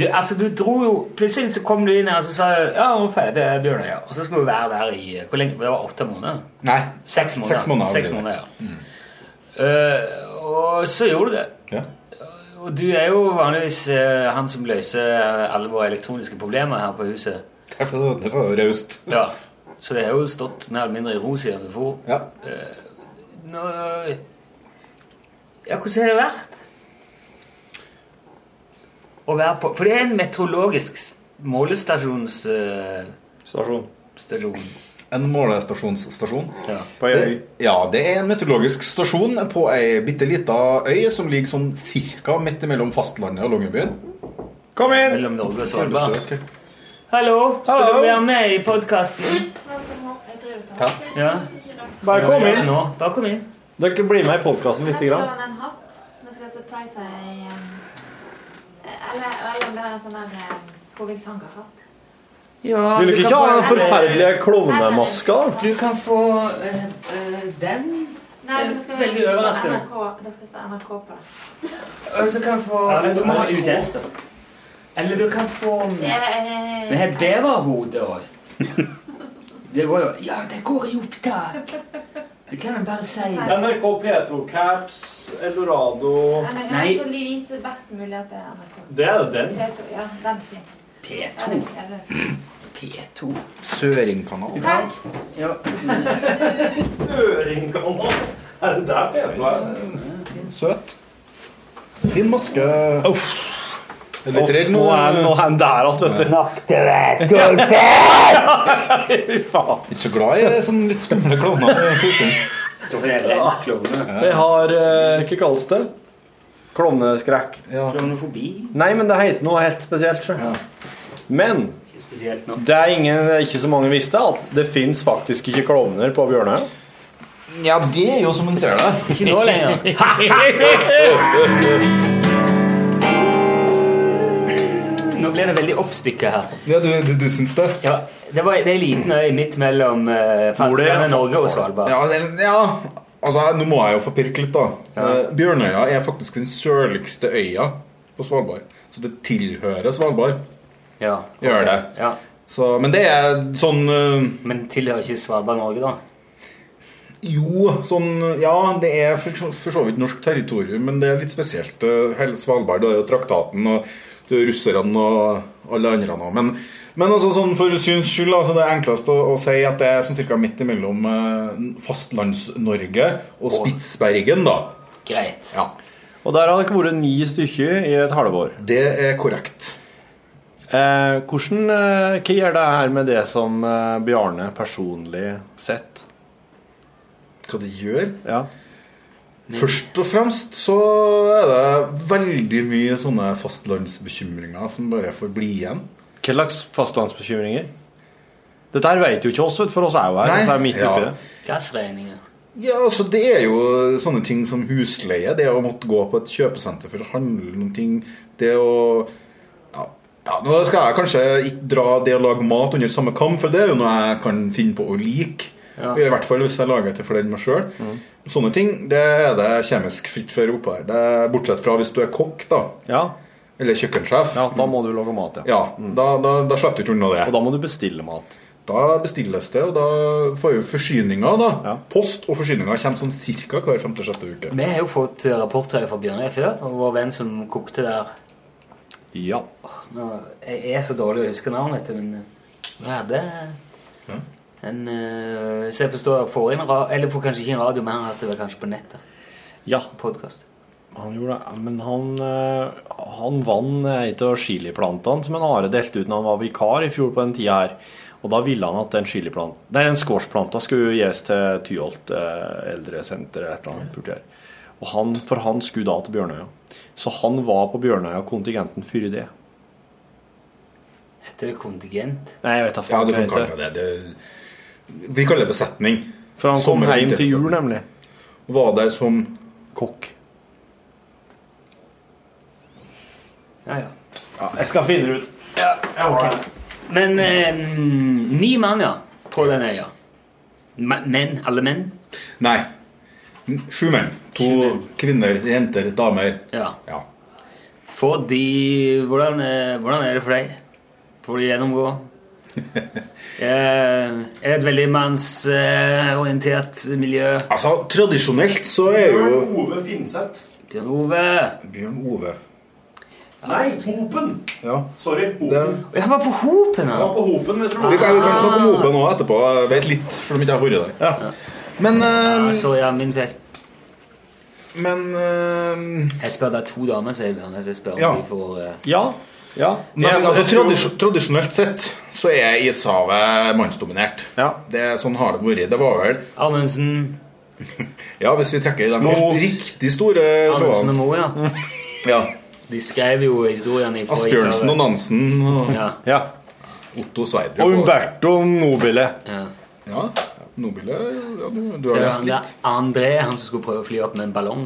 du, Altså, du dro jo Plutselig så kom du inn her og så sa jeg, Ja, nå er jeg ferdig til Bjørnøya. Og så skulle du være der i eh, Hvor lenge? Det var åtte måneder? Nei. Seks måneder. Seks måneder. Seks måneder, ja. Eh, og så gjorde du det. Ja. Og du er jo vanligvis eh, han som løser eh, alle våre elektroniske problemer her på huset. Det var- det var jo raust. Ja, Så det har jo stått mer eller mindre i ro siden du for. Eh, nå, ja, hvordan har det vært? Å være på For det er en meteorologisk s- målestasjons... eh, Stasjon. Stasjon. En målestasjonsstasjon. Ja. På ei øy. Det, ja, det er en meteorologisk stasjon på ei bitte lita øy som ligger sånn cirka midt mellom fastlandet og Longyearbyen. Kom inn! Mellom Norge og Får Svalbard. besøk. Hallo, skal Hallo. du være med i podkasten? Ja. Ja. Bare kom inn. Nå, bare kom inn. Dere blir med i podkasten lite Jeg grann. tror han en hatt. Vi skal surprise ei um, Eller eller om det er en sånn der um, hovigshangerhatt. Ja, Vil dere ikke ha den forferdelige klovnemaska? Du kan få eh, eh, den. Nei, Eh, men det skal veldig være- det skal overraskende. stå NRK, det skal stå NRK på det. Og så kan du få Ja, men du må ha UTS, da. Eller du kan få Eh, Vi har et beverhode *laughs* òg. Det var jo Ja, det går i opptak! Du kan jo bare si det. NRK P2 Caps, Eldorado Nei, men Nei. jeg sånn- vil vise best mulig at det er NRK. Det er den. P2, ja, den er fin. Ja, P2. den er det. P2. Søringkanal. Hei. Ja. Søringkanal. Er det der P2 er? Søt. Fin maske. Uff. Jeg er Uff, litt redd nå er nå er han der alt, vet du. *laughs* Fy faen. Ikke så glad i sånn litt skumle klovner. Det har eh, Hva kalles det? Klovneskrekk. Klovnefobi? Nei, men det heter noe helt spesielt. sjø. Men Spesielt nå. det er ingen, ikke så mange visste at det fins faktisk ikke klovner på Bjørnøya. Ja, det er jo som en ser det. Ikke nå *laughs* Nå ble det veldig oppstykket her. Ja, du, du, du syns det? Ja, det, var, det er en liten øy midt mellom eh, fastlandet Norge og Svalbard. Ja, det, ja. Altså, nå må jeg jo få pirke litt, da. Eh, Bjørnøya er faktisk den sørligste øya på Svalbard. Så det tilhører Svalbard. Ja, Gjør det. Så, men det er sånn Men tilhører ikke Svalbard Norge, da? Jo, sånn Ja, det er for, så- for så vidt norsk territorium, men det er litt spesielt. eh, Hele Svalbard, det er jo traktaten og det er russerne og alle andre nå. Men, men altså, sånn for syns skyld, altså, det er enklest å, å si at det er sånn cirka midt imellom eh, Fastlands-Norge og Spitsbergen, da. Greit. Ja. Og der har dere vært ni stykker i et halvår. Det er korrekt. Eh, hvordan, eh, hva gjør det her med det som eh, Bjarne personlig sett? Hva det gjør? Ja. Først og fremst så er det veldig mye sånne fastlandsbekymringer som bare får bli igjen. Hva slags fastlandsbekymringer? Dette her vet jo ikke oss, vet du, for oss er jo her. Nei. oss er midt oppi Ja. det. Gassregninger. Ja, altså Det er jo sånne ting som husleie, det å måtte gå på et kjøpesenter for å handle noen ting, det å ja, ja, Nå skal jeg kanskje ikke dra det å lage mat under samme kam, for det er jo noe jeg kan finne på å like. Ja. I hvert fall hvis jeg lager til for den meg sjøl. Mm. Sånne ting det er det kjemisk fritt for oppå her. Det er bortsett fra hvis du er kokk, da. Eller kjøkkensjef. Ja, Da må du lage mat, ja. Mm. Ja, da, da, da slipper du ikke unna det. Og da må du bestille mat. Da bestilles det, og da får jo forsyninger, da. Post og forsyninger kommer sånn cirka hver femte-sjette uke. Vi har jo fått eh, rapporter fra Bjørnøy før, og vår venn som kokte der Ja. Nå, Jeg er så dårlig å huske navnet til, men eh, vi hadde en eh, Så jeg forstår jeg får inn ra- Eller får kanskje ikke en radio, men han hadde det kanskje på nettet. Ja. Podkast. Han gjorde det, men han, eh, han vant ei av chiliplantene som en Are delte ut når han var vikar i fjor på den tida her. Og da ville han at den chiliplant- Nei, den squashplanta skulle gis til Tyholt eh, eldresenter eller et eller annet. borti her. Og han, for han skulle da til Bjørnøya. Så han var på Bjørnøya-kontingenten før det. Heter det kontingent? Nei, jeg vet da Ja, faen du hva kan det heter. kalle det det. Vi kaller det besetning. For han kom Sommer- hjem til jul, nemlig. Var der som kokk. Ja, ja. Ja, jeg skal finne det ut. Ja, ok. Men eh, ni mann, ja, på den øya. Ma- Menn? Alle menn? Nei. Sju menn. To kvinner, jenter, damer. Ja. ja. Får de hvordan, eh, hvordan er det for deg? Får de *laughs* gjennomgå? eh, er det et veldig mannsorientert miljø? Altså, tradisjonelt så er jo Ove Finseth. Bjørn Ove. Bjørn Ove. Nei, Hopen! Ja. Sorry, Hopen. Jeg var på Hopen, Jeg var på Hopen, vet du. Vi kan, vi kan Ah. snakke om Open nå etterpå. Jeg vet litt, selv om jeg ikke har vært der. Men eh, Sorry, ja, min feil. Men ehm, Jeg spør det er to damer, sier Bjørn. Jeg spør om Ja. de får eh, Ja. Ja. Nei, Jeg- men altså, jeg tror- tradis- Tradisjonelt sett så er ishavet mannsdominert. Det er Sånn har det vært. Det var vel Amundsen. *laughs* ja, hvis vi trekker i de Smås. riktig store Amundsen og showene. Moe, ja. Ja. De skrev jo historiene fra Asbjørnsen Ishavet. og Nansen og Ja. Otto Sverdrup. Og Umberto Nobile. Ja. Ja, Nobile ja, du, du Så har er det lest han der litt. André, han som skulle prøve å fly opp med en ballong.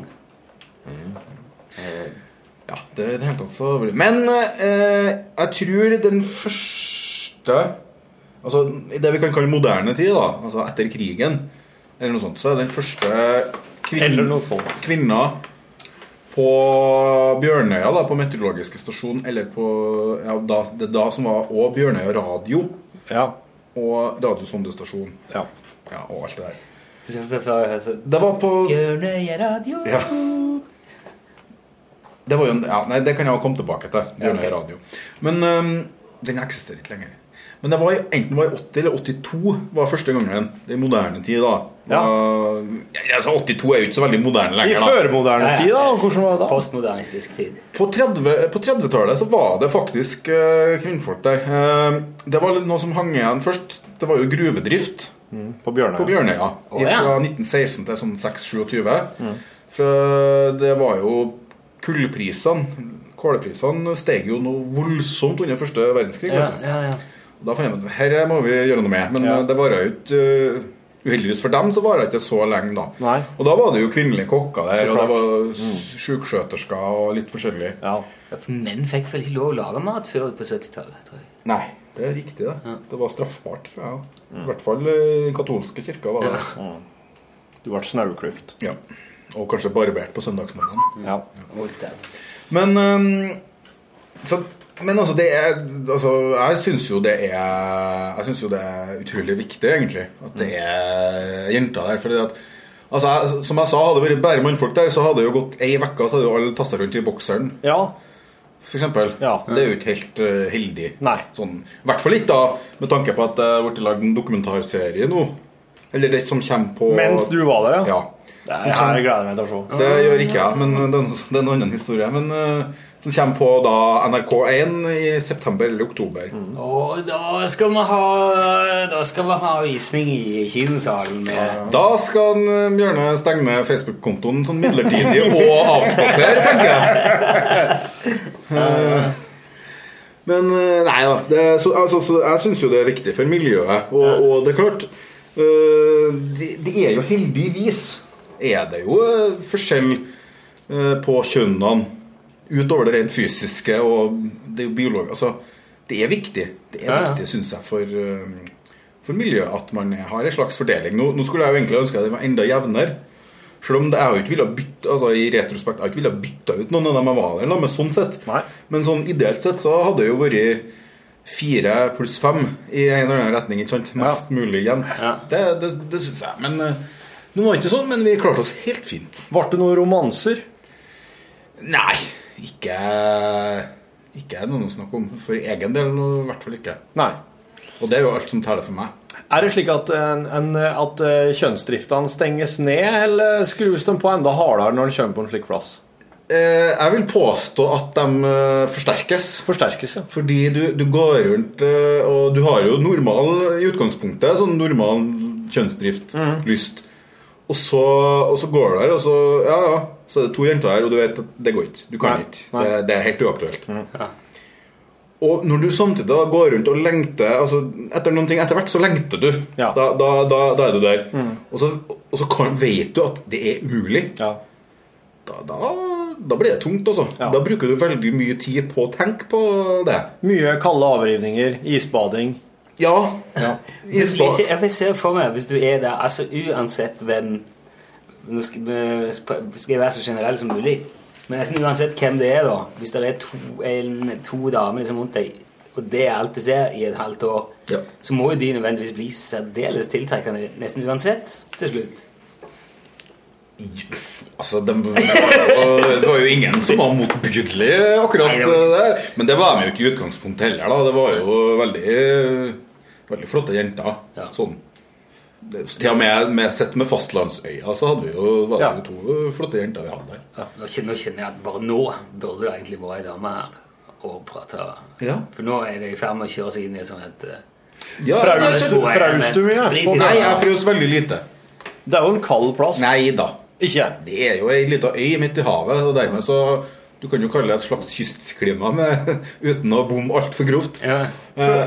Eh, Ja, det er i det hele tatt så Men eh, jeg tror den første Altså i det vi kan kalle moderne tid, da, altså etter krigen, eller noe sånt, så er den første kvin Eller noe sånt. kvinna på Bjørnøya, da, på meteorologiske stasjon, eller på ja, da, Det er da som var òg Bjørnøya radio. Og radiosondestasjon. Ja. Og alt det der. Det var på Bjørnøya radio. Ja. Det var jo en, ja, nei, det kan jeg jo komme tilbake til. Bjørnøy Ja, ok. radio. Men øhm, den eksisterer ikke lenger. Men det var i, enten var i 80 eller 82 var første gangen. Det i moderne tid, da. Ja. Var- Ja. altså 82 er jo ikke så veldig moderne I lenger, da. førmoderne tid, da? Hvordan var det da? Postmodernistisk tid. På 30 på 30-tallet så var det faktisk eh, kvinnfolk der. Eh, det var litt noe som hang igjen først. Det var jo gruvedrift på Bjørnøya. På Bjørnøya. Å, ja. Fra 1916 til sånn 26-27. Mm. For det var jo kullprisene Kåleprisene steg jo noe voldsomt under første verdenskrig. Ja, vet du. ja, ja. Og Da fant jeg ut her må vi gjøre noe med. Men eh, det varer jo ikke eh, Uheldigvis for dem så varer det ikke så lenge, da. Og da var det jo kvinnelige kokker der, Så og det klart. var Mm. s- sykskjøtersker og litt forskjellig. Ja, for Menn fikk vel ikke lov å lage mat før på 70-tallet, tror jeg. Nei, det er riktig, det. Det var straffbart, tror jeg. også. Mm. I hvert fall eh, den katolske kirka var det. Ja. Du ble snauklyft. Ja. Og kanskje barbert på søndagsmorgenen. Ja. Og der. Men øhm, ehm, så Men altså, det er, altså jeg syns jo det er Jeg synes jo det er utrolig viktig, egentlig, at Mm. det er jenter der. fordi at Altså, jeg, Som jeg sa, hadde det vært bare mannfolk der, så hadde det jo gått ei uke, så hadde jo alle tassa rundt i bokseren. Ja. For eksempel. Det er jo ikke helt eh, heldig. Nei. Sånn, I hvert fall ikke da, med tanke på at eh, det har blitt lagd en dokumentarserie nå. Eller det som kommer på Mens du var der, ja. Det Som her kommer- gleder jeg meg til å se. det gjør ikke jeg, men det er en- det er en annen historie. Men eh, som kommer på da NRK1 i september eller oktober. Og da skal vi ha Da skal vi ha visning i kinosalen med Da skal han, eh, Bjørne stenge Facebook-kontoen sånn midlertidig og avspasere, tenker jeg. *laughs* Eh, Men eh, nei da. Det, er- så, altså, så, jeg syns jo det er viktig for miljøet. Og, og det er klart eh, det, det er jo heldigvis er det jo eh, forskjell eh, på kjønnene utover det rent fysiske og det er jo biologi. Altså, det er viktig. Det er Ja, ja. viktig, syns jeg, for eh, for miljøet at man har en slags fordeling. Nå, nå skulle jeg jo egentlig ønske at det var enda jevnere. Selv om det, jeg har jo ikke villet bytte altså i retrospekt, jeg har ikke villet bytte ut noen av dem jeg var der da, men sånn sett. Men sånn ideelt sett så hadde det jo vært fire pluss fem i en eller annen retning. ikke sant? Mest mulig jevnt. Det, det, det syns jeg. Men eh, nå var det ikke sånn, men vi klarte oss helt fint. Ble det noen romanser? Nei, ikke Ikke noe å snakke om. For egen del nå, i hvert fall ikke. Nei. Og det er jo alt som teller for meg. Er det slik at, en, en, at eh, kjønnsdriftene stenges ned, eller skrus de på enda hardere når de kommer på en slik plass? Eh, jeg vil påstå at de eh, forsterkes. Forsterkes, ja. Fordi du, du går rundt eh, Og du har jo normal i utgangspunktet, sånn normal kjønnsdrift, Mhm. lyst. Og så, og så går du der, og så Ja, ja. Så er det to jenter her, og du vet at det går ikke. Du kan ikke. Det, det er helt uaktuelt. Mhm. Og når du samtidig da går rundt og lengter altså Etter noen ting, etter hvert så lengter du. Da, da, da, da er du der. Mm. Og så, og så kan, vet du at det er umulig. Da, da, da blir det tungt, altså. Da bruker du veldig mye tid på å tenke på det. Mye kalde avrivninger, isbading Ja. Men Jeg ser- jeg ser for meg, hvis du er der Altså uansett hvem Nå skal vi- skal jeg være så generell som mulig, men nesten uansett hvem det er, da Hvis det er to, en, to damer liksom rundt deg, og det er alt du ser i et halvt år, så må jo de nødvendigvis bli særdeles tiltrekkende nesten uansett til slutt. Altså, *laughs* det, det var jo ingen som var motbydelig akkurat Nei, det var- det. Men det var de jo ikke i utgangspunktet heller. da Det var jo veldig, veldig flotte jenter. Sånn. Det- Til og med, med sett med fastlandsøya så hadde vi jo, var det jo to flotte jenter vi hadde der. Nå kjenner, nå kjenner jeg at bare nå burde det egentlig vært ei dame her og prate. Ja. For nå er det i ferd med å kjøre seg inn i sånn et eh, Ja, Fraust- nei, så- fraust du mye? Drit i det. Nei, jeg frøs veldig lite. Det er jo en kald plass. Nei da. Ikke? Det er jo ei lita øy midt i havet, og dermed så Du kan jo kalle det et slags kystklima med, *laughs* uten å bomme altfor grovt. Eh. For,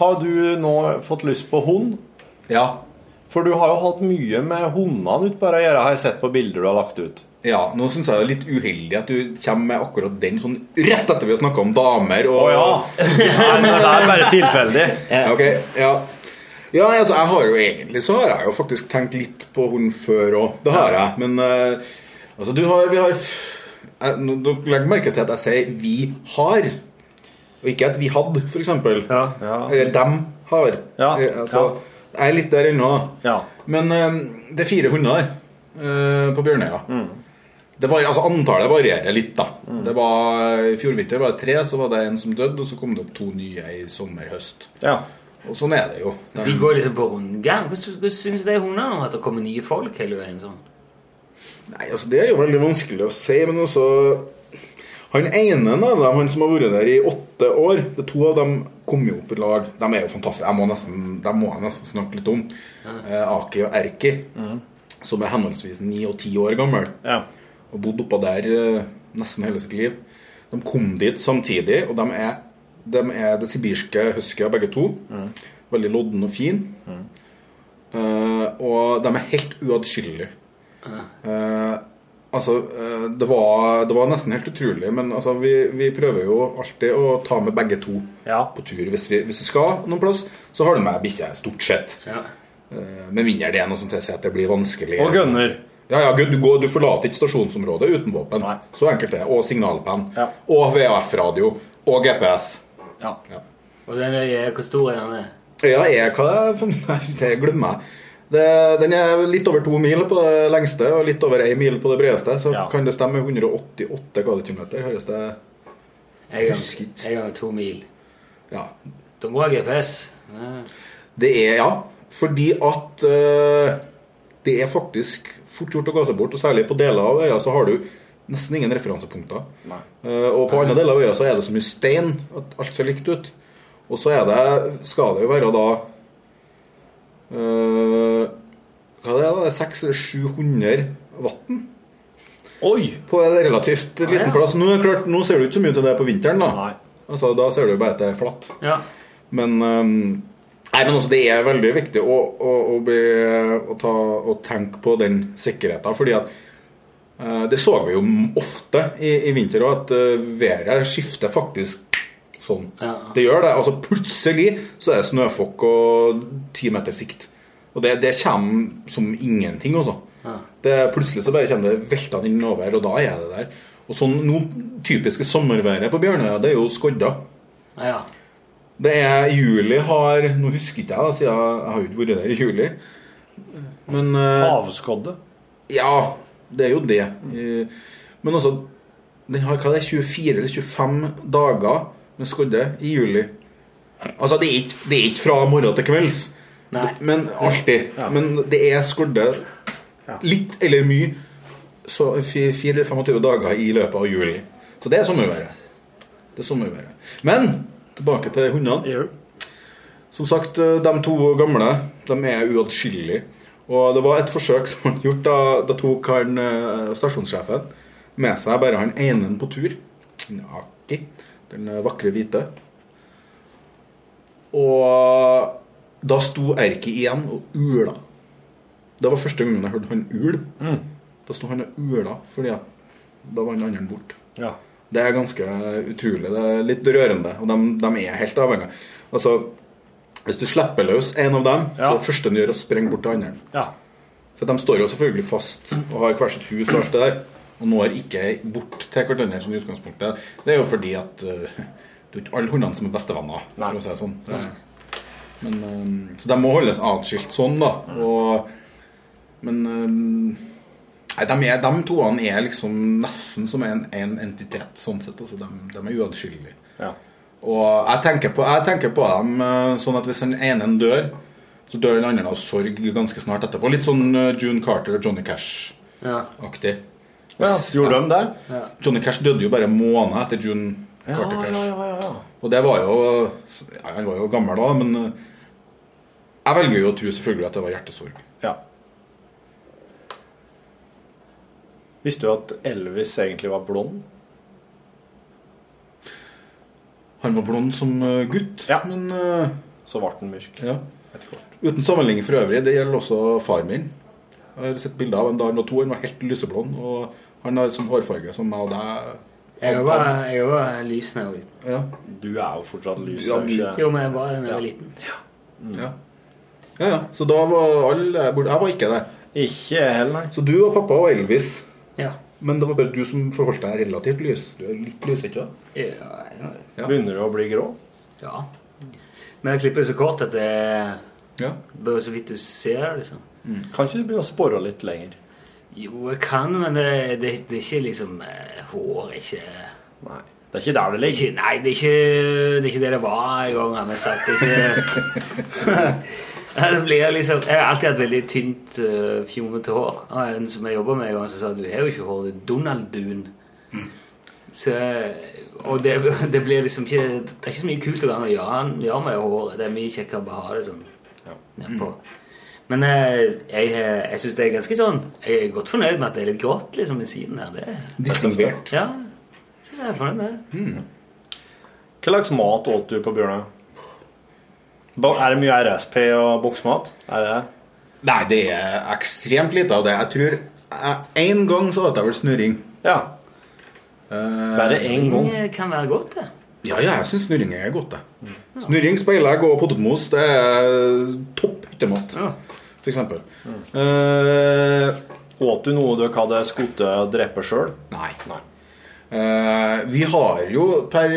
har du nå fått lyst på hund? Ja. For du har jo hatt mye med hundene ute bare å gjøre, har jeg sett på bilder du har lagt ut. Ja, nå syns jeg det er litt uheldig at du kommer med akkurat den sånn rett etter vi har snakka om damer og Å ja. Nei, nei, det er bare tilfeldig. Ok, ja. Ja, nei, altså, jeg har jo egentlig så har jeg jo faktisk tenkt litt på hun før òg. Det har jeg. Men eh, altså, du har Vi har jeg, nå- Dere legger merke til at jeg sier 'vi har', og ikke at 'vi hadde', f.eks. Ja. Eller 'dem har'. Eh, altså, Jeg er litt der ennå. Men eh, det er fire hunder der eh, på Bjørnøya. Mm. Det var, altså Antallet varierer litt, da. Det var, I fjor vinter var det tre, så var det en som døde, og så kom det opp to nye i sommer-høst. Og sånn er det jo. Det er- De går liksom på rundgang. Hvordan, hvordan syns de hundene om at det kommer nye folk hele veien? sånn? Nei, altså Det er jo veldig vanskelig å si, men altså Han ene av dem, han som har vært der i åtte år det er To av dem kom jo opp i lag. De er jo fantastiske. Jeg må nesten, dem må jeg nesten snakke litt om. Eh, Aki og Erki, som er henholdsvis ni og ti år gammel og bodde oppå der eh, nesten hele sitt liv. De kom dit samtidig, og de er, de er det sibirske huskyer begge to. Veldig lodden og fin. Mm. Eh, og de er helt uatskillelige. Eh, altså, eh, det var, det var nesten helt utrolig, men altså, vi, vi prøver jo alltid å ta med begge to på tur. Hvis vi, hvis vi skal noen plass, så har du med bikkje, stort sett. Eh, Med mindre det er noe som tilsier at det blir vanskelig. Og gunner. Ja, ja, du, går, du forlater ikke stasjonsområdet uten våpen. Så enkelt det. Og signalpenn. Og VAF-radio. Og GPS. Ja. Og den er, E hvor stor er den? Ja, jeg, hva det *laughs* er det glemmer jeg. Det, den er litt over to mil på det lengste og litt over ei mil på det bredeste. Så kan det stemme 188 gatekilometer, høres det En gang, en gang to mil. Ja. Da må jeg ha GPS. Ja. Det er, ja. Fordi at eh, det er faktisk fort gjort å gå seg bort, og særlig på deler av øya så har du nesten ingen referansepunkter. Nei. Eh, og på andre deler av øya så er det så mye stein at alt ser likt ut. Og så er det, skal det jo være da eh, Hva er det, da? Det er 600-700 vann. Oi! På en relativt liten plass. Nå, er det klart, nå ser det ikke så mye til det på vinteren, da. Altså, da ser det jo bare at det er flatt. Ja. Men ehm, Nei, men også, det er veldig viktig å, å, å, bli, å, ta, å tenke på den sikkerheten. Fordi at eh, det så vi jo ofte i, i vinter òg, at eh, været skifter faktisk sånn. Det gjør det. altså Plutselig så er det snøfokk og ti meter sikt. Og det, det kommer som ingenting, altså. Ja. Det, plutselig så bare kommer det veltende inn over, og da er det der. Og sånn, nå, Typiske sommerværet på Bjørnøya, det er jo skodda. Ja. Det er juli har Nå husker ikke jeg, da, siden jeg jeg har jo ikke vært der i juli. Men eh, Havskodde? Ja, det er jo det. Eh, Men altså Den har hva det er, 24 eller 25 dager med skodde i juli. Altså, det er ikke, det er ikke fra morgen til kvelds, men alltid. Men det er skodde litt eller mye så 24-25 dager i løpet av juli. Så det er sommerværet. Det er sommerværet. Men tilbake til hundene. Som sagt, eh, de to gamle de er uatskillelige. Og det var et forsøk som ble gjort da, da tok han eh, stasjonssjefen med seg bare han ene på tur. Han Aki. Den vakre hvite. Og da sto Erki igjen og ula. Det var første gangen jeg hørte han ul. Da sto han og ula fordi at da var han andre borte. Ja. Det er ganske utrolig. Det er litt rørende. Og de, de er helt avhengige. Altså, hvis du slipper løs en av dem, så er det første den gjør, å sprenge bort til andre. Ja. For de står jo selvfølgelig fast og har hvert sitt hus og alt det der. Og når ikke bort til hverandre som i utgangspunktet. Det er jo fordi at eh, det er jo ikke alle hundene som er bestevenner, for å si det sånn. Det er- Nei. Men, eh, så de må holdes atskilt sånn, da. Og, men eh, Nei, de, er, de toene er liksom nesten som en, en entitet, sånn sett. Altså, de, de er uatskillelige. Og jeg tenker, på, jeg tenker på dem eh, sånn at hvis den ene dør, så dør den andre av sorg ganske snart etterpå. Litt sånn eh, June Carter og Johnny Cash-aktig. Ja. Ja, gjorde de det? Ja. Johnny Cash døde jo bare en måned etter June Carter Cash. Og det var jo ja, Han var jo gammel da, men eh, jeg velger jo å tro selvfølgelig at det var hjertesorg. Visste du at Elvis egentlig var blond? Han var blond som eh, gutt, men eh, Så ble han mørk. Ja. Uten sammenligning for øvrig, det gjelder også far min. Jeg har sett bilder av en da han var to. Han var helt lyseblond. Og han har sånn hårfarge som meg og deg. Jeg var, jeg var lys da jeg var liten. Ja. Du er jo fortsatt lys. Ja, er du ikke? Jo, men jeg var det da jeg var liten. Mm. Ja. ja, ja. Så da var alle borte. Jeg var ikke det. Ikke heller. Så du og pappa og Elvis. Ja. Men det var bare du som forholdt deg relativt lys. Du er litt lysete, da. Ja, jeg var det. Begynner du å bli grå? Ja. Men jeg klipper jo så kort at det ja. bare så vidt du ser, liksom. Kan ikke du begynne å spore litt lenger? Jo, jeg kan, men det, det, det er ikke liksom eh, Hår er ikke Nei. Det er ikke der det ligger? Nei, det er ikke det, er ikke det, det var en gang. Han har sagt det er ikke *laughs* Nei, det blir liksom, Jeg har alltid hatt veldig tynt, eh, fjongete hår. Og en som jeg jobba med en gang, som sa du har jo ikke hår, det er Donald-dun. Så, og det, det blir liksom ikke Det er ikke så mye kult å gjøre ja, han gjør med det håret. Det er mye kjekkere å bare ha det sånn Mm. nedpå. Men eh, jeg, eh, jeg syns det er ganske sånn Jeg er godt fornøyd med at det er litt grått liksom, ved siden her. Det, Distingvert. ja, jeg synes jeg er fornøyd med det. Hmm. Hva slags mat åt du på Bjørnøya? Ba- Er det mye RSP og boksmat? Eh. Er det Nei, det er ekstremt lite av det. Jeg tror jeg- en gang så åt jeg vel snurring. Ja. Bare eh, Det kan være godt, det. Ja, ja, jeg syns snurring er godt, det. Snurring, speilegg og potetmos, det er topp hyttemat. For eksempel. Åt du noe dere hadde skutt og drept sjøl? Nei. Eh, vi har jo per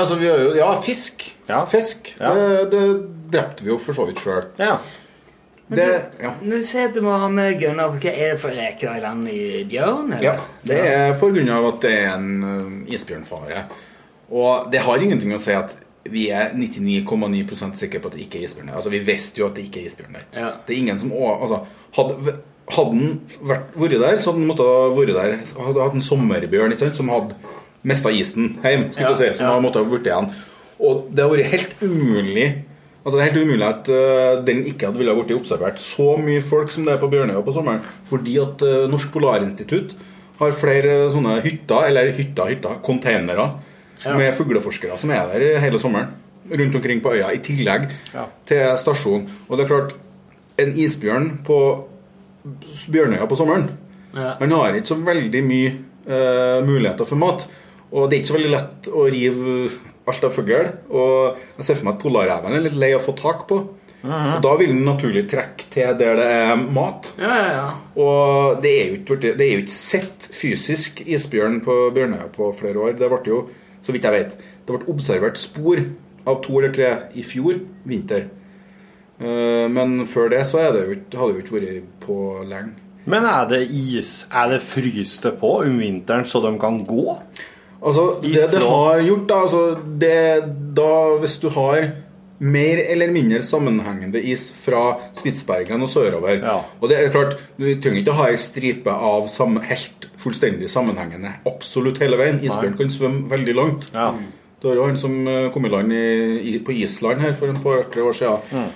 Altså, vi har jo Ja, fisk. Fisk. Det, det drepte vi jo for så vidt sjøl. Det, ja. Nå sier du må ha med gunner. Hva er det for reker i land i Bjørn? eller? Ja, det er på grunn av at det er en ø, isbjørnfare. Og det har ingenting å si at vi er 99,9 sikre på at det ikke er isbjørn der. Altså, vi visste jo at det ikke er isbjørn der. Ja. Det er ingen som å- altså, hadde, hadde den vært, vært der, så hadde den måttet ha vært der. Hadde hatt en sommerbjørn ikke sant, som hadde mista isen hjem, skulle Ja, du si, som hadde måttet ha vært igjen. Og det har vært helt umulig Altså Det er helt umulig at ø, den ikke hadde ville ha blitt observert så mye folk som det er på Bjørnøya på sommeren. Fordi at ø, Norsk Polarinstitutt har flere eh, sånne hytter, eller hytter, hytter, containere, Ja. med fugleforskere som er der hele sommeren. Rundt omkring på øya, i tillegg til stasjonen. Og det er klart, en isbjørn på Bjørnøya på sommeren Ja. Han har ikke så veldig mye eh, muligheter for mat. Og det er ikke så veldig lett å rive alt av fugl. Og jeg ser for meg at polarreven er litt lei å få tak på. Og da vil den naturlig trekke til der det er mat. Ja, ja, ja. Og det er jo ikke, blitt- det er jo ikke sett fysisk isbjørn på Bjørnøya på flere år. Det ble jo, så vidt jeg vet, det ble observert spor av to eller tre i fjor vinter. Eh, Men før det så er det jo ikke, hadde det jo ikke vært på lenge. Men er det is? Er det fryst det på om vinteren så de kan gå? Altså, det det har gjort, da, altså det, da Hvis du har mer eller mindre sammenhengende is fra Spitsbergen og sørover Og det er klart, du trenger ikke å ha ei stripe av samme, helt fullstendig sammenhengende absolutt hele veien. Isbjørn Nei. kan svømme veldig langt. Det var jo han som eh, kom i land i, i, på Island her for et par år siden.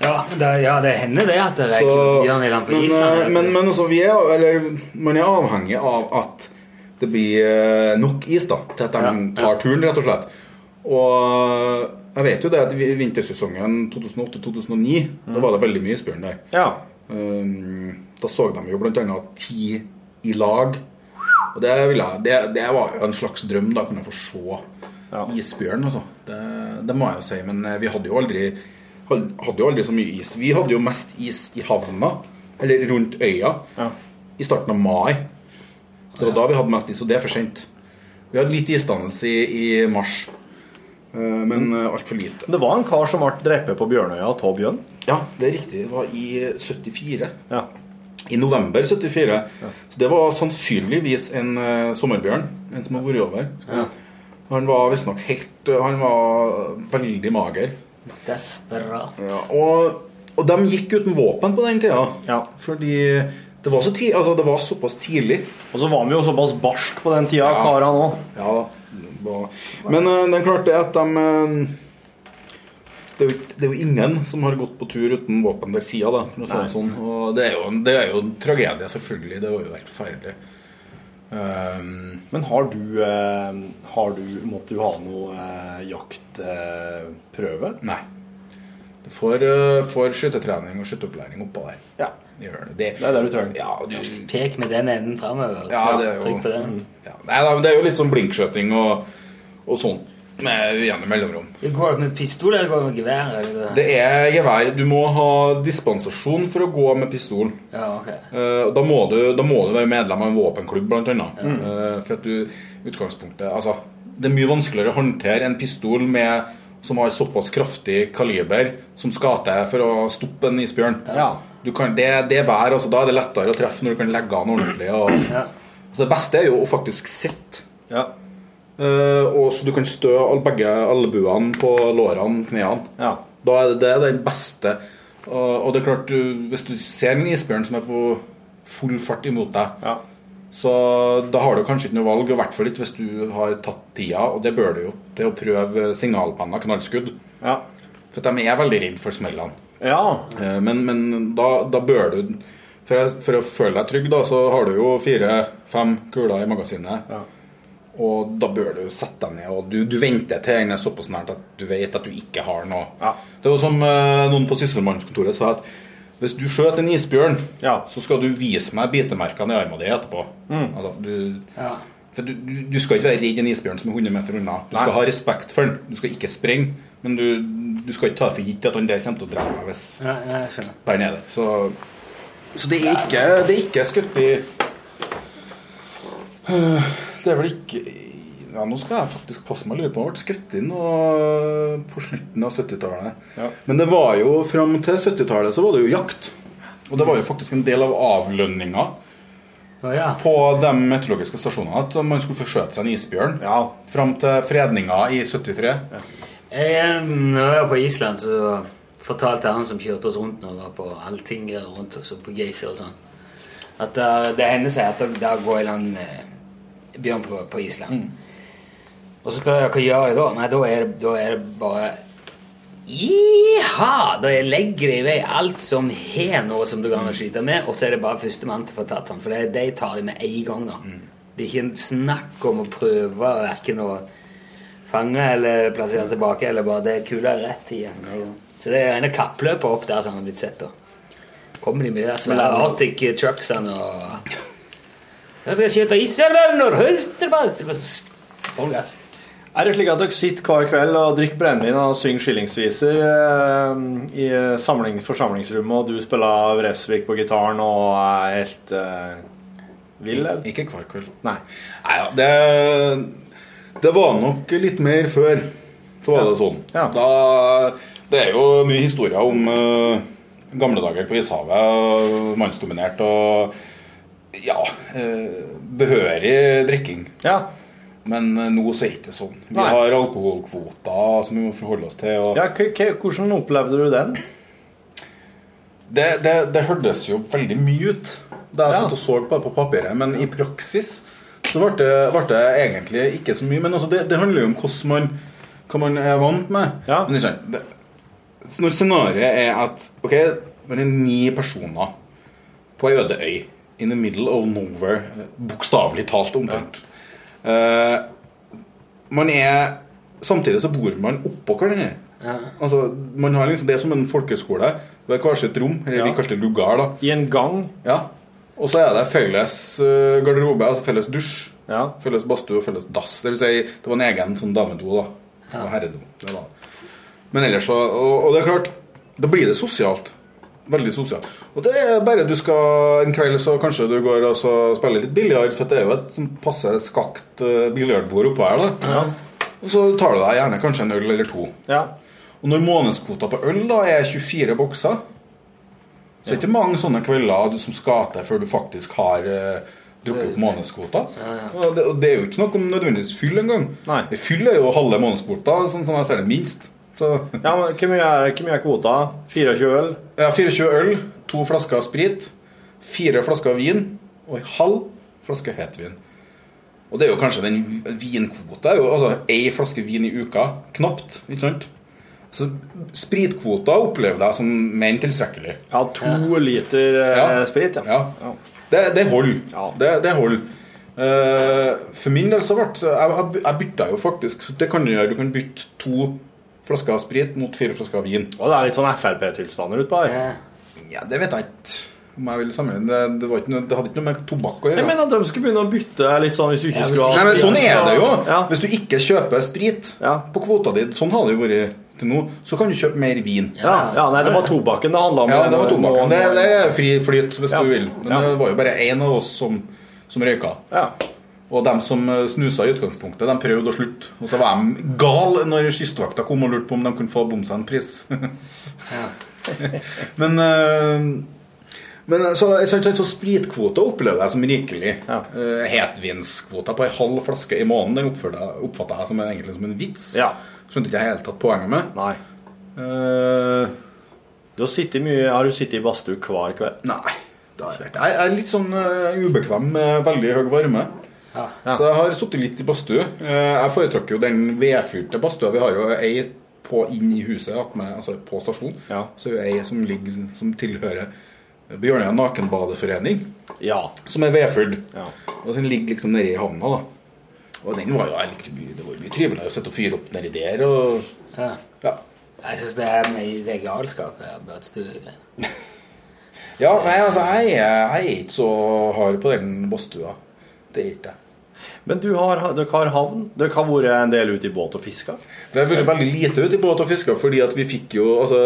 Ja, det, ja, det hender det at det er Så- bjørn i land på men, Island. eh, Men, men altså, vi er, eller, man er avhengig av at det blir eh, nok is da, til at de tar turen, rett og slett. Og jeg vet jo det at vi- vintersesongen 2008-2009, da var det veldig mye isbjørn der. Um, da så de jo blant annet ti i lag. Og det, ville jeg, det, det var jo en slags drøm, da, å kunne få se isbjørn, altså. Det, det må jeg jo si. Men eh, vi hadde jo aldri had- hadde jo aldri så mye is. Vi hadde jo mest is i havna, eller rundt øya, i starten av mai. Så det var da vi hadde mest is, og det er for sent. Vi hadde litt isdannelse i, i mars, eh, men eh, altfor lite. Mm. Det var en kar som ble drept på Bjørnøya av tå bjørn. Ja, det er riktig. Det var i 74. I november 74. Så det var sannsynligvis en eh, sommerbjørn. En som har vært over. Han var visstnok helt eh, Han var veldig mager. Desperat. Ja, og, og de gikk uten våpen på den tida. Fordi det var, så ti, altså, det var såpass tidlig. Og så var vi jo såpass barsk på den tida, kara nå. Ja da. Det var- Men eh, det er klart det at de eh, det er, jo, ikke- det er jo ingen som har gått på tur uten våpen der sida, da. For å si det Nei. sånn. Og det er, jo, en- det er jo en tragedie, selvfølgelig. Det var jo helt forferdelig. Ehm, Men har du, eh, ehm, har du Måtte du ha noe eh, jaktprøve? Nei. eh, Du får, eh, får skytetrening og skytteopplæring oppå der. Ja. Det gjør det. Det, er det du trenger. Ja, du, Pek med den enden framover. Ja, det er jo- Trykk på den. ja. Nei, da, men det er jo litt sånn blinkskjøting og, og sånn med jevne mellomrom. Det går med pistol eller går det med gevær? Eller? Det er gevær. Du må ha dispensasjon for å gå med pistol. Ja, ok. Eh, og da, må du, da må du være medlem av en våpenklubb, blant annet. Ja. Eh, for at du utgangspunktet Altså, det er mye vanskeligere å håndtere en pistol med, som har såpass kraftig kaliber som skal til for å stoppe en isbjørn. Du kan, det, det er vær, altså, da er det lettere å treffe når du kan legge an ordentlig. Og, Så det beste er jo å faktisk sitte. Eh, og så du kan stø all- begge albuene på lårene, knærne. Da er det, det er den beste. Og, og det er klart, du, hvis du ser en isbjørn som er på full fart imot deg, så da har du kanskje ikke noe valg, og i hvert fall ikke hvis du har tatt tida, og det bør du jo, til å prøve signalpenna knallskudd. For de er veldig redd for smellene. Eh, Men, men da, da bør du for, jeg, for å føle deg trygg, da, så har du jo fire-fem kuler i magasinet. Og da bør du sette deg ned, og du, du venter til den er såpass nært at du vet at du ikke har noe. Det er jo som eh, noen på sysselmannskontoret sa, at hvis du skjøt en isbjørn, så skal du vise meg bitemerkene i armen din etterpå. Mm. Altså, du, For du, du, du skal ikke være redd en isbjørn som er 100 meter unna. Du skal Nei. ha respekt for den. Du skal ikke sprenge, men du, du skal ikke ta for gitt at han der kommer til å drepe meg hvis Ja, ja, jeg skjønner. der nede. Så, så det er ikke, det er ikke skutt i Øh, *sighs* Det er vel ikke ja, Nå skal jeg faktisk passe meg. Lurer på om jeg ble skutt inn og, på slutten av 70-tallet. Men det var jo fram til 70-tallet så var det jo jakt. Og det var jo faktisk en del av avlønninga på de meteorologiske stasjonene at man skulle forskjøte seg en isbjørn. Ja. Fram til fredninga i 73. Jeg, når jeg var på Island, så fortalte han som kjørte oss rundt når vi var på allting rundt oss, og på Geyser og sånn, at der, det hender seg at det- der går en eller annen eh, bjørn på, på Island. Og så spør jeg hva gjør jeg da? Nei, da er det, da er det bare Iha! Da jeg legger jeg i vei alt som har noe som du kan skyte med, og så er det bare førstemann til å få tatt han. For det, de tar de med en gang, da. Det er ikke en snakk om å prøve verken å fange eller plassere tilbake, eller bare det er kula rett igjen. Så det er rene kappløpet opp der som har blitt sett, da. Kommer de med de der svære Arctic trucksene og Jeg skal skyte isbjørn, og hørte det bare Det var så full gass. Er det slik at dere sitter hver kveld og drikker brennevin og synger skillingsviser eh, i samling, forsamlingsrommet, og du spiller Vresvik på gitaren og er helt eh, vill, eller? Ikke hver kveld. Nei. Nei, ja, det, det var nok litt mer før. Så var det sånn. Da, det er jo mye historier om eh, gamle dager på ishavet, og mannsdominert og ja, eh, behørig drikking. Men eh, nå så er det ikke sånn. Vi Nei. har alkoholkvoter som vi må forholde oss til. Og Ja, k k hvordan opplevde du den? det, det, det hørtes jo veldig mye ut da jeg satt og så på det på papiret, men i praksis så ble det, ble det egentlig ikke så mye. Men altså det, det handler jo om hvordan man, hva man er vant med. Men ikke sant, det, så når scenarioet er at ok, man er ni personer på ei øde øy in the middle of nowhere, eh, bokstavelig talt omtrent Eh, Man er Samtidig så bor man oppå hverandre. Altså, man har liksom, det er som en folkeskole. Det er hver sitt rom, eller vi kaller det lugar. da I en gang. Ja. Og så er det felles eh, garderobe, altså felles dusj. Felles badstue og felles dass. Det vil si, det var en egen sånn damedo. da Ja. Og herredo. Det var. det. Men ellers så og, og det er klart, da blir det sosialt. Veldig sosialt. Og det er bare du skal en kveld, så kanskje du går og så spiller litt biljard, for det er jo et sånn passe skakt eh, biljardbord oppå her. da Og så tar du deg gjerne kanskje en øl eller to. Ja. Og når månedskvota på øl da er 24 bokser, så er det ikke mange sånne kvelder du som skal til før du faktisk har eh, drukket opp månedskvota. Og, det, og det er jo ikke noe om nødvendigvis fyll engang. Fyll er jo halve månedskvota, sånn som jeg ser det minst. Så. Ja, men Hvor mye er, hvor mye er kvota? 24 øl? Ja, 24 øl, to flasker sprit, fire flasker vin og en halv flaske hetvin. Og det er jo kanskje den vinkvota er jo, Altså ei flaske vin i uka. Knapt, ikke sant? Så spritkvota opplevde jeg som mer enn tilstrekkelig. Ja, to liter eh, sprit, ja. Det, det holder. Det, det holder. Eh, for min del så ble jeg, jeg- jeg bytta jo faktisk Det kan du gjøre. Du kan bytte to flasker sprit mot fire flasker vin. Og det er litt sånn Frp-tilstander utpå her. Ja, det vet jeg ikke om jeg vil sammenligne. Det, det, var ikke noe, det hadde ikke noe med tobakk å Jeg gjøre. mener at de skulle begynne å bytte litt sånn hvis du ikke Nei, skulle ha men sånn er det jo. Ja. Hvis du ikke kjøper sprit på kvota di, sånn har det jo vært til nå, så kan du kjøpe mer vin. Ja, ja, nei, det var tobakken det handla om. Ja, det var tobakken. Nå- Det, det er fri flyt, hvis du vil. Men det var jo bare én av oss som, som røyka. Og dem som eh, snusa i utgangspunktet, de prøvde å slutte. Og så var de gal når kystvakta kom og lurte på om de kunne få bomsendpris. *laughs* men eh, men så, så, så, så spritkvota opplevde jeg som rikelig. Eh, Hetvinskvota på ei halv flaske i måneden den oppførte jeg- oppfatta jeg som en, egentlig som en vits. Skjønte ikke jeg helt tatt poenget med. Nei. Du Eh, har, sittet mye, har du sittet i badstue hver kveld? Nei. det har jeg ikke. Jeg er litt sånn eh, ubekvem med veldig høy varme. Så jeg har sittet litt i badstue. Eh, Jeg foretrakk jo den vedfyrte badstua. Vi har jo ei på inn i huset, at med, altså på stasjon. Så er jo ei som ligger som tilhører Bjørnøya Nakenbadeforening. Som er vedfyrt. Og den ligger liksom nede i havna, da. Og den var jo jeg likte mye, det var jo mye trivelig å sitte og fyre opp nedi der. Og... Ja. Jeg syns det er mye det er galskap. det er Badstuegreier. Ja, nei, altså, jeg, er- jeg er ikke så hard på den badstua. Det er ikke jeg. Men du har, dere har havn? Dere har vært en del ute i båt og fiska? Vi har vært veldig lite ute i båt og fiska fordi at vi fikk jo Altså,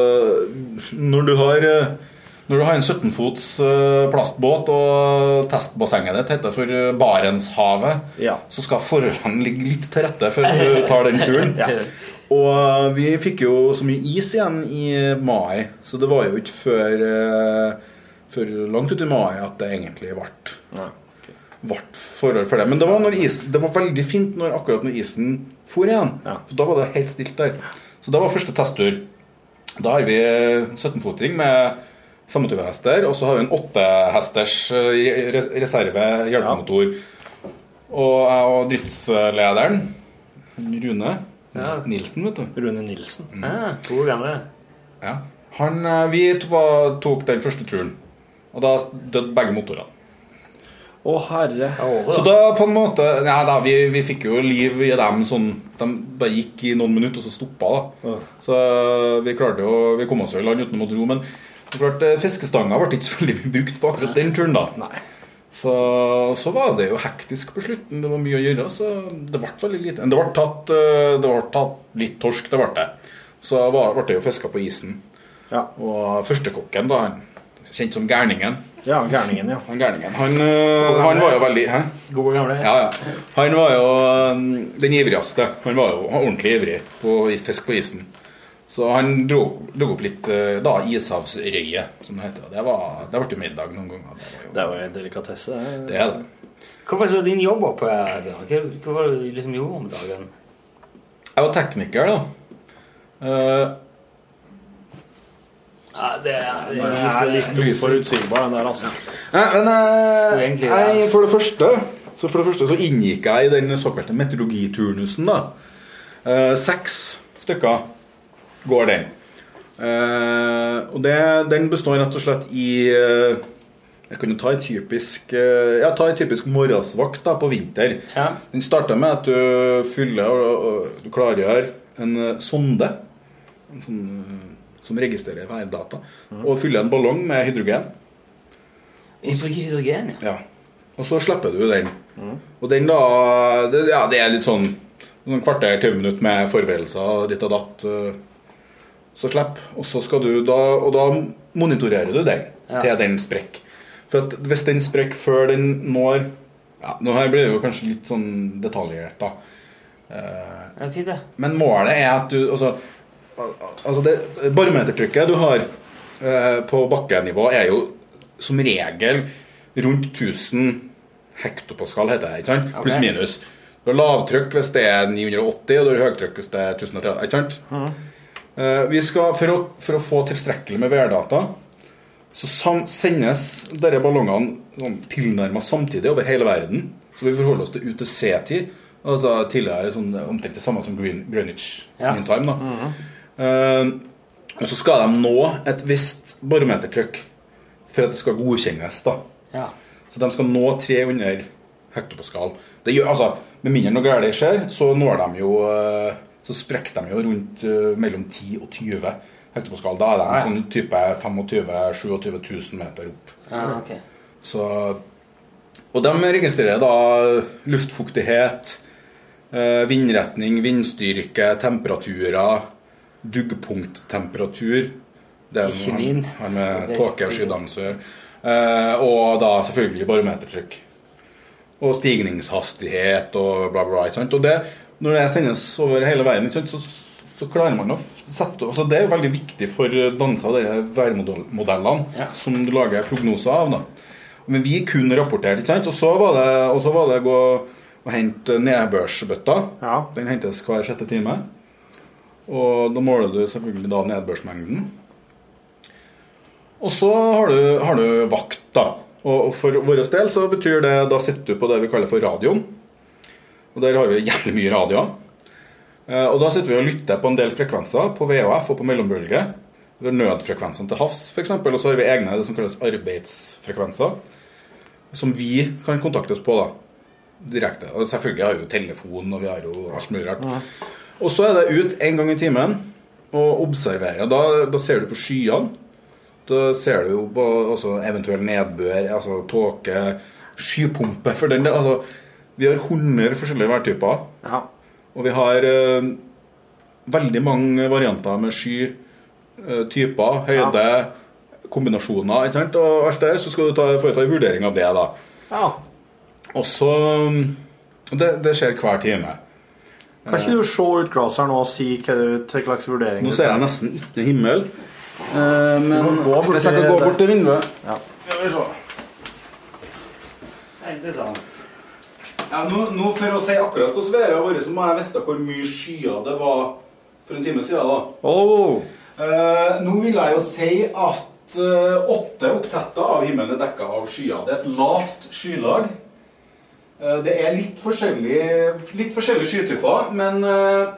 når du har eh, Når du har en 17-fots eh, plastbåt, og testbassenget ditt heter for eh, Barentshavet, så skal forholdene ligge litt til rette før du tar den turen. Ja. Og eh, vi fikk jo så mye is igjen i mai, så det var jo ikke før, eh, før langt ut i mai at det egentlig ble vart forhold for det. Men det var, når is, det var veldig fint når, akkurat når isen for igjen. For da var det helt stilt der. Så da var første testtur. Da har vi 17-foting med 25 hester, og så har vi en 8-hesters eh, re- reserve hjelpemotor. Og jeg og driftslederen, Rune Nilsen, vet du. Rune Nilsen. Ah, to år gamle. Ja. Han, eh, vi to var, tok den første turen, og da døde begge motorene. Å, herre. Så da på en måte Nei da, vi, vi fikk jo liv i dem sånn De bare gikk i noen minutter, og så stoppa da. Så eh, vi klarte jo Vi kom oss jo i land uten å måtte ro, men det er klart, eh, fiskestanga ble ikke så veldig mye brukt på akkurat den turen, da. Så, så var det jo hektisk på slutten. Det var mye å gjøre, så det ble veldig lite. Men det ble tatt, eh, det ble tatt litt torsk, det ble det. Så var- ble det jo fiska på isen. Og førstekokken, da, han kjent som Gærningen Ja, gærningen, ja. Han gærningen. Han, eh, han var jo veldig Hæ? God gamle. Ja, ja. Han var jo eh, den ivrigste. Han var jo ordentlig ivrig på is- fisk på isen. Så han dro, dro opp litt eh, da, ishavsrøye, som det heter. Det, var, det ble jo middag noen ganger. Det var jo en delikatesse. Det er det. Hva var det som var din jobb oppe her? da? Hva, hva var det du liksom gjorde om dagen? Jeg var tekniker, da. Eh, Ja, det er, det er, Jeg er litt uforutsigbar, den der, altså. Nei, men Skulle eh, egentlig være- nei, for det første Så for det første så inngikk jeg i den såkalte meteorologiturnusen da eh, Seks stykker går den eh, Og det, den består rett og slett i eh, Jeg kunne ta en typisk eh, Ja, ta en typisk morgensvakt da på vinter Den starter med at du fyller og, og du klargjør en eh, sonde en sånn, eh, Som registrerer værdata Og fyller en ballong med hydrogen Hydrogen, ja. ja. Og så slipper du den. Og den da det, Ja, det er litt sånn noen kvarter, 20 minutter med forberedelser ditt og datt. eh, Så slipp. Og så skal du da Og da monitorerer du den Ja. til den sprekker. For at hvis den sprekker før den når ja, Nå her blir det jo kanskje litt sånn detaljert, da. Eh, Ja, fint, det. men målet er at du Altså, al- altså det barometertrykket du har eh, på bakkenivå, er jo som regel rundt 1000 hektopascal, heter det. ikke sant? Ok. Pluss-minus. Du har lavtrykk hvis det er 980, og du har høytrykk hvis det er 1030. ikke sant? Mm. Eh, vi skal, for, å, for å få tilstrekkelig med værdata, så sam, sendes disse ballongene sånn, tilnærmet samtidig over hele verden. Så vi forholder oss til UTC-tid. Altså tidligere sånn, omtrent det samme som Green, Greenwich Mean Time. Da. Eh, og så skal de nå et visst barometertrykk for at det skal godkjennes. da. Ja. Så de skal nå 300 hektopascal. Det gjør, altså, med mindre noe galt skjer, så når de jo eh, Så sprekker de jo rundt eh, mellom 10 og 20 hektopascal. Da er de Ja, ja. sånn type 25 000-27 000 meter opp. Ja, ok. Så, og de registrerer da luftfuktighet, eh, vindretning, vindstyrke, temperaturer, duggpunkttemperatur. Det er Ikke noe han- minst. Han med Veldig. tåke og skydanse å gjøre. Eh, og da selvfølgelig barometertrykk. Og stigningshastighet og bla, bla, bla. Ikke sant? Og det, når det sendes over hele verden, ikke sant, så, så klarer man å f- sette altså Det er jo veldig viktig for danser, disse værmodellene som du lager prognoser av. da. Men vi kunne rapportert, ikke sant? Og så var det, og så var det gå og hente nedbørsbøtta. Den hentes hver sjette time. Og da måler du selvfølgelig da nedbørsmengden. Og så har du, har du vakt, da. Og og for vår del så betyr det da sitter du på det vi kaller for radioen. Og der har vi jævlig mye radioer. Eh, Og da sitter vi og lytter på en del frekvenser, på VHF og på mellombølge. Det er Nødfrekvensene til havs, f.eks. Og så har vi egne det som kalles arbeidsfrekvenser, som vi kan kontakte oss på da, direkte. Og selvfølgelig har vi jo telefon, og vi har jo alt mulig rart. Og så er det ut en gang i timen og observere. Da, da ser du på skyene. Da ser du jo på altså, eventuell nedbør, altså tåke, skypumpe for den del. Altså, vi har 100 forskjellige værtyper. Og vi har eh, veldig mange varianter med sky, eh, typer, høyde, kombinasjoner ikke sant? og alt det der, så skal du ta, foreta en vurdering av det. da. Ja. Og så og det, det skjer hver time. Kan ikke du se ut glasset her nå og si hva du- til slags vurdering Nå du ser tar? jeg nesten ikke noe himmel. Eh, men Du må gå bort hvis jeg kan til- gå bort til vinduet Ja. Skal vi se. Interessant. Ja, nå, nå For å si akkurat hvordan været har vært, så må jeg vite hvor mye skyer det var for en time siden. da. Eh, nå vil jeg jo si at eh, åtte oktetter av himmelen er dekka av skyer. Det er et lavt skylag. Eh, det er litt forskjellige, litt forskjellige skytyper, men eh,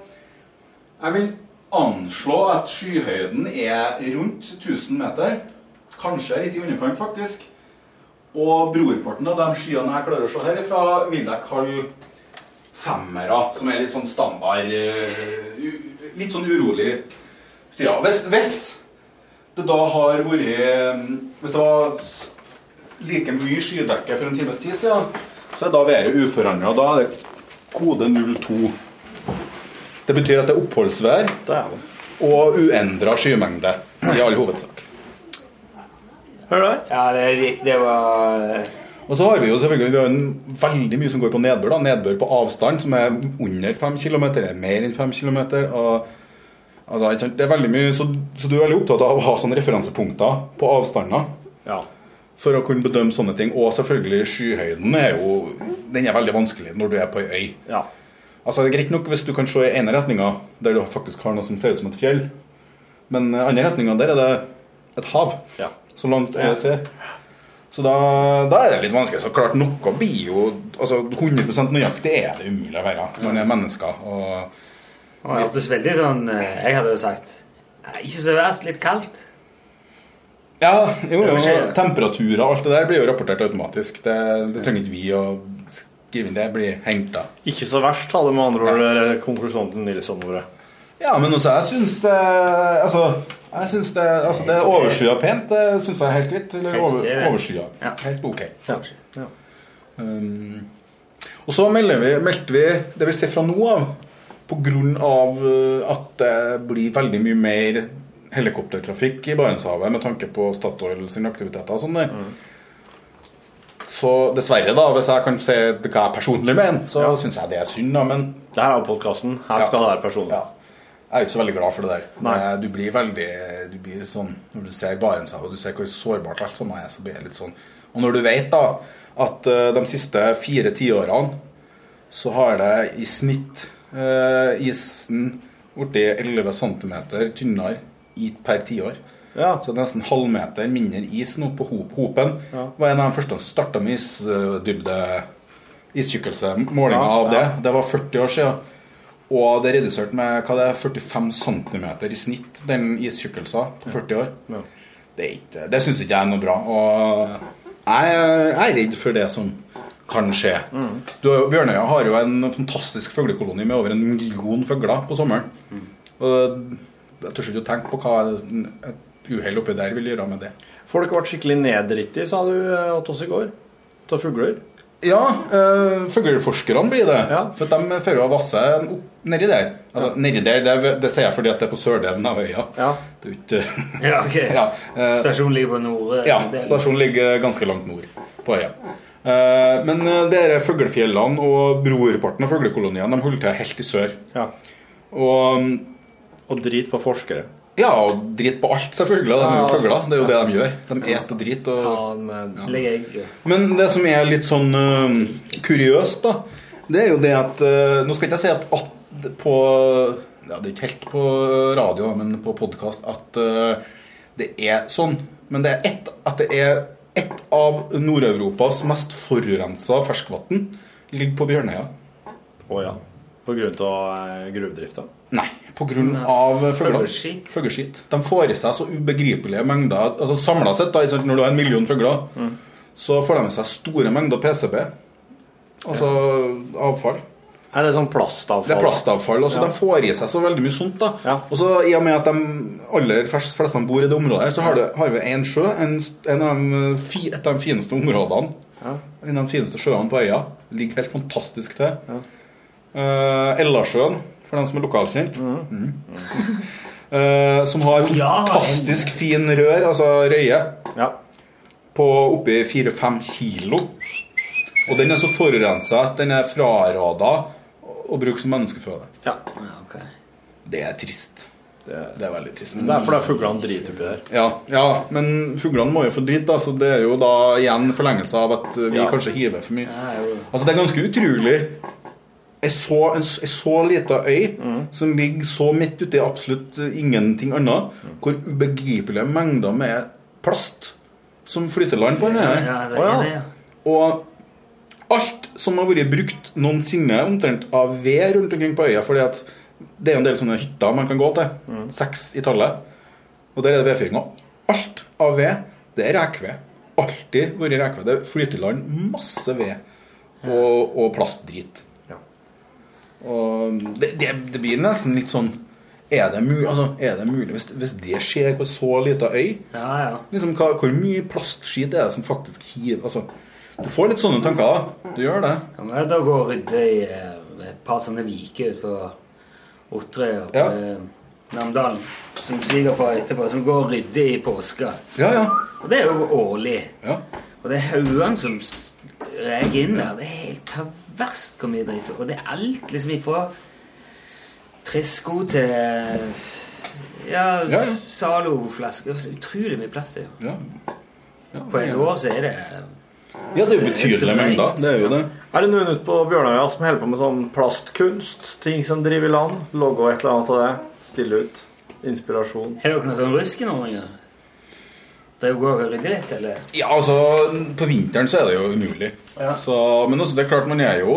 jeg vil anslå at skyhøyden er rundt 1000 meter. Kanskje litt i underkant, faktisk. Og brorparten av de skyene jeg klarer å se herifra, vil jeg kalle femmere, som er litt sånn standard eh, u- Litt sånn urolig skyer. Hvis, hvis det da har vært eh, Hvis det var like mye skydekke for en times tid siden, så er da været uforandra. Da er det kode 02. Det betyr at det er oppholdsvær og uendra skymengde i all hovedsak. Hør der. Ja, det, er rikt- det var Og så har vi jo selvfølgelig vi har en veldig mye som går på nedbør. da, Nedbør på avstand, som er under 5 km, er mer enn 5 km. Og, altså, ikke sant, det er veldig mye, så, så du er veldig opptatt av å ha sånne referansepunkter på avstander. For å kunne bedømme sånne ting. Og selvfølgelig skyhøyden er jo den er veldig vanskelig når du er på ei øy. Altså, det er greit nok hvis du kan se i ene retninga, der du faktisk har noe som ser ut som et fjell. Men i andre retninga, der er det et hav. Så langt øyet ser. Så da, da er det litt vanskelig. Så klart, noe blir jo altså 100 nøyaktig er det umulig å være når man er mennesker. Og, Det hørtes veldig sånn eh, Jeg hadde sagt eh, Ikke så verst, litt kaldt. ja, jo, Det jo, skjer. temperaturer og alt det der blir jo rapportert automatisk. Det, det trenger ikke vi å skrive inn. Det blir hengt av. Ikke så verst, hadde med andre ord eh, konklusjonen til Nilsson vært. Ja, men også jeg syns det Altså, jeg synes det, altså, det er overskya pent. Det syns jeg er helt greit. Eller Helt ok, over, det. overskya. Helt ok. Ja. Um, og så melder vi, meldte vi, det vil si fra nå av, på grunn av eh, at det blir veldig mye mer helikoptertrafikk i Barentshavet med tanke på Statoil sine aktiviteter og sånn der. Mm. Så dessverre, da, hvis jeg kan si hva jeg personlig mener, så synes syns jeg det er synd, da, men Det her er jo podkasten. Her skal det være personlig. Jeg er jo ikke så veldig glad for det der. Nei. Eh, Du blir veldig du blir sånn, Når du ser Barentshavet og du ser hvor sårbart alt sammen er, så blir det litt sånn. Og når du vet da at eh, de siste fire tiårene så har det i snitt eh, isen blitt 11 cm tynnere i, per tiår. Så det er nesten halvmeter mindre is nå på hop hopen. Ja. var en av de første som starta med eh, isdybde Istykkelse. Målinga Ja, av det. ja. Det var 40 år siden. Og det er redusert med hva det er, 45 cm i snitt, den istykkelsen, på 40 år. Det, er ikke- det syns ikke jeg er noe bra. Og jeg, jeg er redd for det som kan skje. Du, Bjørnøya har jo en fantastisk fuglekoloni med over en million fugler på sommeren. Og jeg tør ikke å tenke på hva et uhell oppi der vil gjøre med det. Folk ble skikkelig nedrittig, sa du eh, til oss i går. Av fugler. Ja, eh, fugleforskerne blir det. For at de fører å vasse opp nedi der. Altså, Nedi der, det, det sier jeg fordi at det er på sørdelen av øya. Det er jo ikke Ja, *laughs* ok. eh, Stasjonen ligger på nord... eh, Ja, delen. stasjonen ligger ganske langt nord på øya. Eh, Men eh, det er fuglefjellene og brorparten av fuglekoloniene de holder til helt i sør. Og, um, drit på forskere. Ja, og drit på alt, selvfølgelig. De er Ja. jo fugler. Det er jo det de gjør. De eter drit. Og, Ligger egg. men det som er litt sånn eh, kuriøst, da, det er jo det at eh, Nå skal ikke jeg si at, at på ja, Det er ikke helt på radio, men på podkast at eh, det er sånn. Men det er ett at det er ett av Nord-Europas mest forurensa ferskvann ligger på Bjørnøya. Å ja. På grunn av øh, gruvedrifta. Nei, pga. fugler. Fugleskit. Fugleskitt. De får i seg så ubegripelige mengder altså Samla sett, da, ikke sant, når du har en million fugler, så får de i seg store mengder PCB. Altså avfall. Er det sånn plastavfall? Det er plastavfall. Altså, Ja. De får i seg så veldig mye sånt. da. Og så I og med at de aller fers- fleste bor i det området, her, så har, det, har vi én sjø, en, en av de, fi- et av de fineste områdene. En av de fineste sjøene på øya. Ligger helt fantastisk til. Eh, Ellasjøen, for dem som er lokalkjent. Mm. *laughs* eh, som har fantastisk fin rør, altså røye, på oppi 4-5 kilo. Og den er så forurensa at den er fraråda å bruke som menneskeføde. Det er trist. Det er, veldig trist. Det er fordi fuglene driter oppi der. Ja, ja, men fuglene må jo få dritt, da, så det er jo da igjen forlengelse av at vi Ja. kanskje hiver for mye. Altså, det er ganske utrolig. Jeg så en s- jeg så lita øy Mm. som ligger så midt ute i absolutt eh, ingenting annet, Mm. hvor ubegripelige mengder med plast som flyter land på den her. Ja, det er Å, det, ja. Og alt som har vært brukt noensinne omtrent av ved rundt omkring på øya, fordi at det er jo en del sånne hytter man kan gå til, Mm. seks i tallet, og der er det vedfyring også. Alt av ved, det er rekved. Alltid vært rekved. Det flyter i land masse ved og, og plastdrit. Og det, det, det blir nesten litt sånn Er det mulig, altså, er det mulig hvis, hvis det skjer på så lita øy? Liksom, hva, hvor mye plastskit er det som faktisk hiver altså, Du får litt sånne tanker, da. Du gjør det. Ja, men da går og rydder i eh, et par sånne viker ut på Otrøy og på eh, Namdalen, som svigerfar etterpå, som går og rydder i påska. Og det er jo årlig. Og det er haugene som s- reker inn der. Det er helt perverst hvor mye dritt. Og det er alt liksom ifra tresko til ja, Ja, ja. Zalo-flasker. Det er så Utrolig mye plast det er. Ja. På et ja. år så er det Ja, det er jo betydelige mengder. Det er jo det. Er det noen ute på Bjørnøya som holder på med sånn plastkunst? Ting som driver i land? Logge og et eller annet av det? Stille ut? Inspirasjon? Har dere noen sånne ruskenorminger? Dere går og rydder litt, eller? Ja, altså, på vinteren så er det jo umulig. Så, men altså, det er klart, man er jo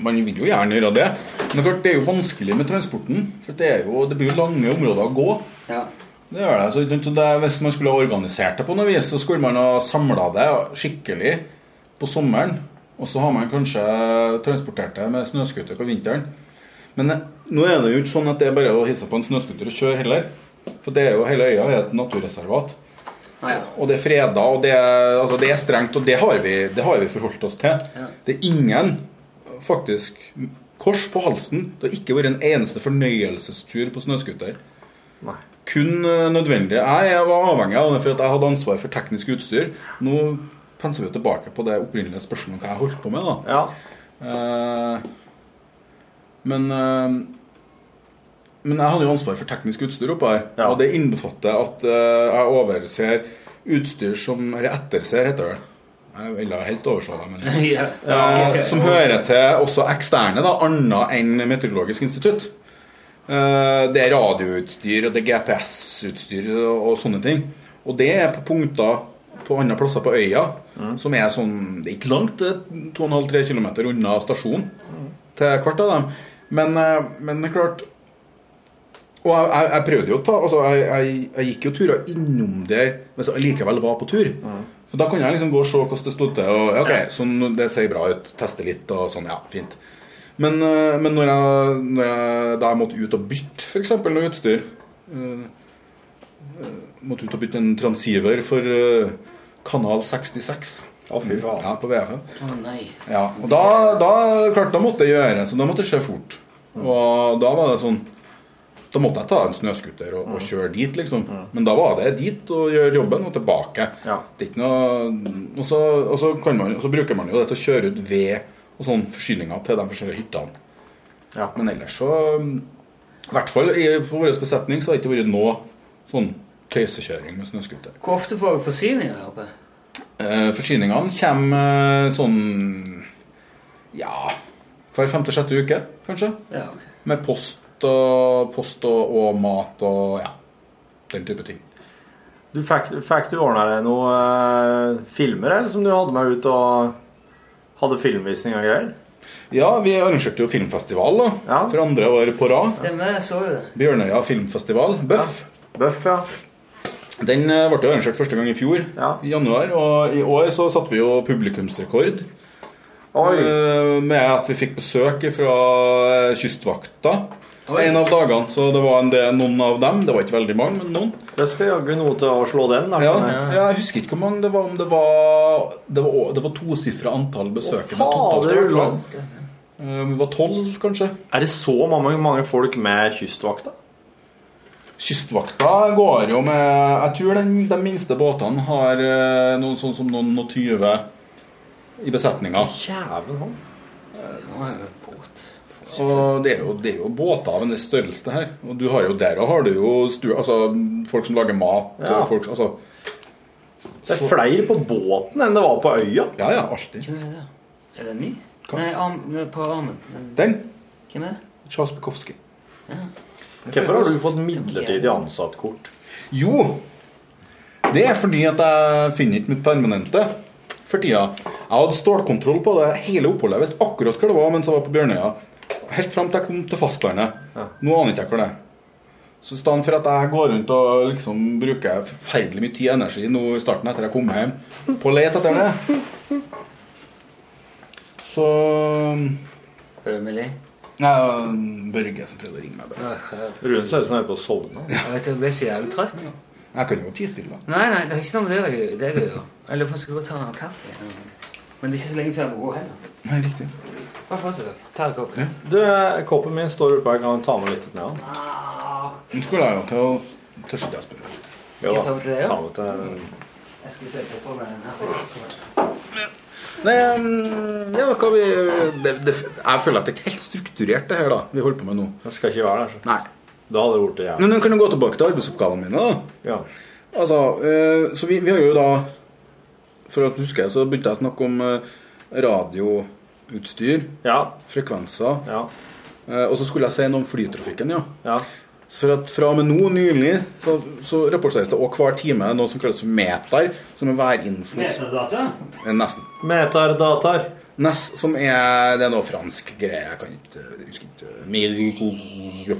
Man vil jo gjerne gjøre det. Men det er klart, det er jo vanskelig med transporten. For det, er jo, det blir jo lange områder å gå. Det gjør det. Så, ikke sant, så det, hvis man skulle ha organisert det på noe vis, så skulle man ha samla det skikkelig på sommeren. Og så har man kanskje transportert det med snøscooter på vinteren. Men eh, nå er det jo ikke sånn at det er bare å hisse på en snøscooter og kjøre heller. For det er jo hele øya er et naturreservat. Og det er freda, og det er, altså det er strengt, og det har, vi, det har vi forholdt oss til. Det er ingen, faktisk, kors på halsen. Det har ikke vært en eneste fornøyelsestur på snøscooter. Kun eh, nødvendig. Jeg jeg var avhengig av det for at jeg hadde ansvar for teknisk utstyr. Nå penser vi jo tilbake på det opprinnelige spørsmålet om hva jeg holdt på med. da. Eh, men eh, men jeg hadde jo ansvar for teknisk utstyr oppe her. Og det innbefatter at eh, jeg overser utstyr som Eller etterser, heter det. Jeg ville helt overse det, men *laughs* Ja. Eh, Som hører til også eksterne, da, annet enn Meteorologisk institutt. Eh, det er radioutstyr, og det er GPS-utstyr og, og sånne ting. Og det er på punkter på andre plasser på øya Mm. som er sånn Det er ikke langt, det er 2,5-3 km unna stasjonen 음. til hvert av dem. Men, eh, men det er klart Og jeg, jeg, jeg prøvde jo å ta altså jeg, jeg, jeg gikk jo turer innom der hvis jeg likevel var på tur. Så da kunne jeg liksom gå og se hvordan det stod til. Og, ja, ok, sånn, det ser bra ut. Teste litt og sånn. Ja, fint. Men, eh, men når jeg, når jeg, da jeg måtte ut og bytte f.eks. noe utstyr eh, eh, Måtte ut og bytte en transceiver for eh, Kanal 66 fy faen. Ja, på VFM. Å nei. Ja, og da, da, klart, da måtte jeg gjøre Så da måtte det skje fort Og da var det sånn Da måtte jeg ta en snøskuter og, og kjøre dit liksom Men da var det dit og gjøre jobben og tilbake Det er ikke noe Og så, og så, kan man, og så bruker man jo det til å kjøre ut ved Og sånn forsyninger til de forskjellige hyttene Men ellers så I hvert fall i, på vår besetning Så har det ikke vært noe sånn tøysekjøring med snøskuter Hvor ofte får dere forsyninger der oppe? Eh, Forsyningene kommer eh, sånn Ja, hver femte-sjette uke, kanskje. Ja, Med post og, post og, og mat og ja, den type ting. Du fikk, fikk du ordna deg noen eh, filmer eller, som du hadde med ut og hadde filmvisning og greier? Ja, vi arrangerte jo filmfestival da, for andre år på rad. Stemmer, jeg så jo det. Bjørnøya filmfestival, Bøff. Bøff, ja. Den eh, ble jo arrangert første gang i fjor, i januar. Og i år så satte vi jo publikumsrekord. Eh, Med at vi fikk besøk fra eh, Kystvakta en av dagene. Så det var en del, noen av dem. Det var ikke veldig mange, men noen. Det skal jaggu noe til å slå den. da. Ja, ja, jeg husker ikke hvor mange det var, om det var Det var, å- det var tosifra antall besøkende. totalt, i fader, hvert fall. Ulland. Eh, Vi var tolv, kanskje. Er det så mange, mange folk med Kystvakta? Kystvakta går jo med Jeg tror den, de minste båtene har eh, noen sånn som noen og 20 i Eh, besetninga. Jæven han. Og det er, jo, det er jo båter av en viss størrelse her. Og du har jo der og har du jo stu, altså, folk som lager mat Ja. og folk altså, Det er flere på båten enn det var på øya. Ja, ja, alltid. Er det ny? Nei, arm, på armen. Den? Hvem er det? Sjaspekovskij. Hvorfor har du fått midlertidig ansattkort? Jo, det er fordi at jeg finner ikke mitt permanente for tida. Jeg hadde stålkontroll på det hele oppholdet. Jeg visste akkurat hva det var mens jeg var på Bjørnøya. Helt fram til jeg kom til fastlandet. Nå aner ikke jeg hva det er. Så i stedet for at jeg går rundt og liksom bruker forferdelig mye tid og energi nå i starten etter jeg kom hjem, på å lete etter det, så Føler du meg lei? Nei, Børge som prøvde å ringe meg. bare. Rune ser ut som han er på å sovne. Jeg vet, jeg ble så jævlig trøtt. Jeg kan jo tie stille. Nei, nei, det er ikke noe med det å gjøre. Det er det jo. Jeg lurer på om jeg skal gå og ta meg en kaffe. Men det er ikke så lenge før jeg må gå heller. Nei, riktig. Bare fortsett. Ta en kopp. Du, Koppen min står oppe her. Kan du ta med litt ned? den? Ah. Nå skulle jeg jo til å tørste det spille. Jo jeg da, ta med til deg, ja? ta med til Jeg skal se på meg den her. Nei, mm, ja, hva vi det, det, Jeg føler at det er ikke helt strukturert, det her da vi holder på med nå. Det skal ikke være der, Nei. Da hadde det vært det jævlig. Men nå kan du gå tilbake til arbeidsoppgavene mine, da. Ja. Altså, eh, så vi, vi har jo da For at du husker, så begynte jeg å snakke om eh, radioutstyr. Frekvenser. Eh, Og så skulle jeg si noe om flytrafikken, ja. Så For at fra og med nå nylig så, så rapporteres det også hver time noe som kalles meter, som er værinfo. Metadata? Eh, Nesten. Metardatar. Ness, som er Det er noe fransk greie. Jeg kan ikke jeg husker ikke. Mil-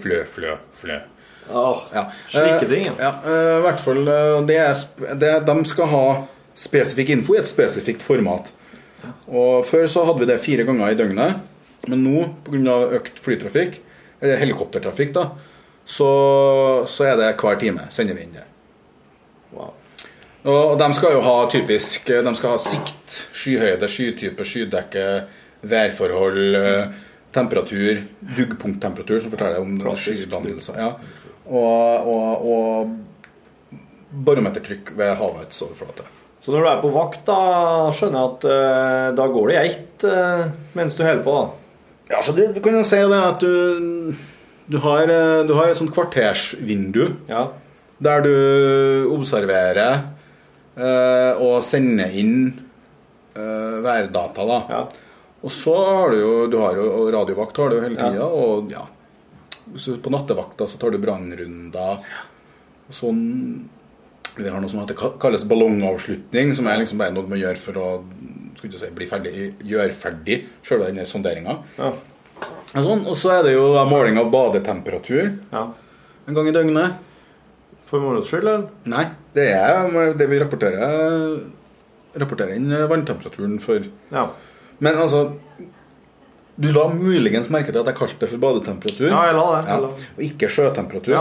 Flø, flø, flø. ja. slike Eh, ting, ja. ja. eh, I hvert fall eh, det er, sp- det, De skal ha spesifikk info i et spesifikt format. Og Før så hadde vi det fire ganger i døgnet, men nå pga. økt flytrafikk, eller helikoptertrafikk, da, så, så er det hver time sender vi inn det. Og de skal jo ha typisk eh, De skal ha sikt, skyhøyde, skytype, skydekke, værforhold, eh, temperatur, duggpunkttemperatur, som forteller om skydannelser. Ja. Og, og, og barometertrykk ved havets overflate. Så når du er på vakt, da skjønner jeg at eh, da går det geit eh, mens du holder på, da. Ja, så Altså, det, du kan jo si det at du, du, har, eh, du har et sånt kvartersvindu der du observerer eh, og sender inn eh, værdata. da. Og så har du jo, du har jo og radiovakt har du jo hele tida. Og ja, så på nattevakta så tar du brannrunder. og Sånn Vi har noe som heter, kalles ballongavslutning, som er liksom bare noe du må gjøre for å skal ikke si, bli ferdig, gjøre ferdig sjølve denne sonderinga. Og, sånn. og så er det jo da måling av badetemperatur en gang i døgnet. For moro skyld, eller? Nei, det er det vi rapporterer. Rapporterer inn vanntemperaturen for Men altså Du la muligens merke til at jeg kalte det for badetemperatur. Ja, jeg la det, jeg la det. Og ikke sjøtemperatur.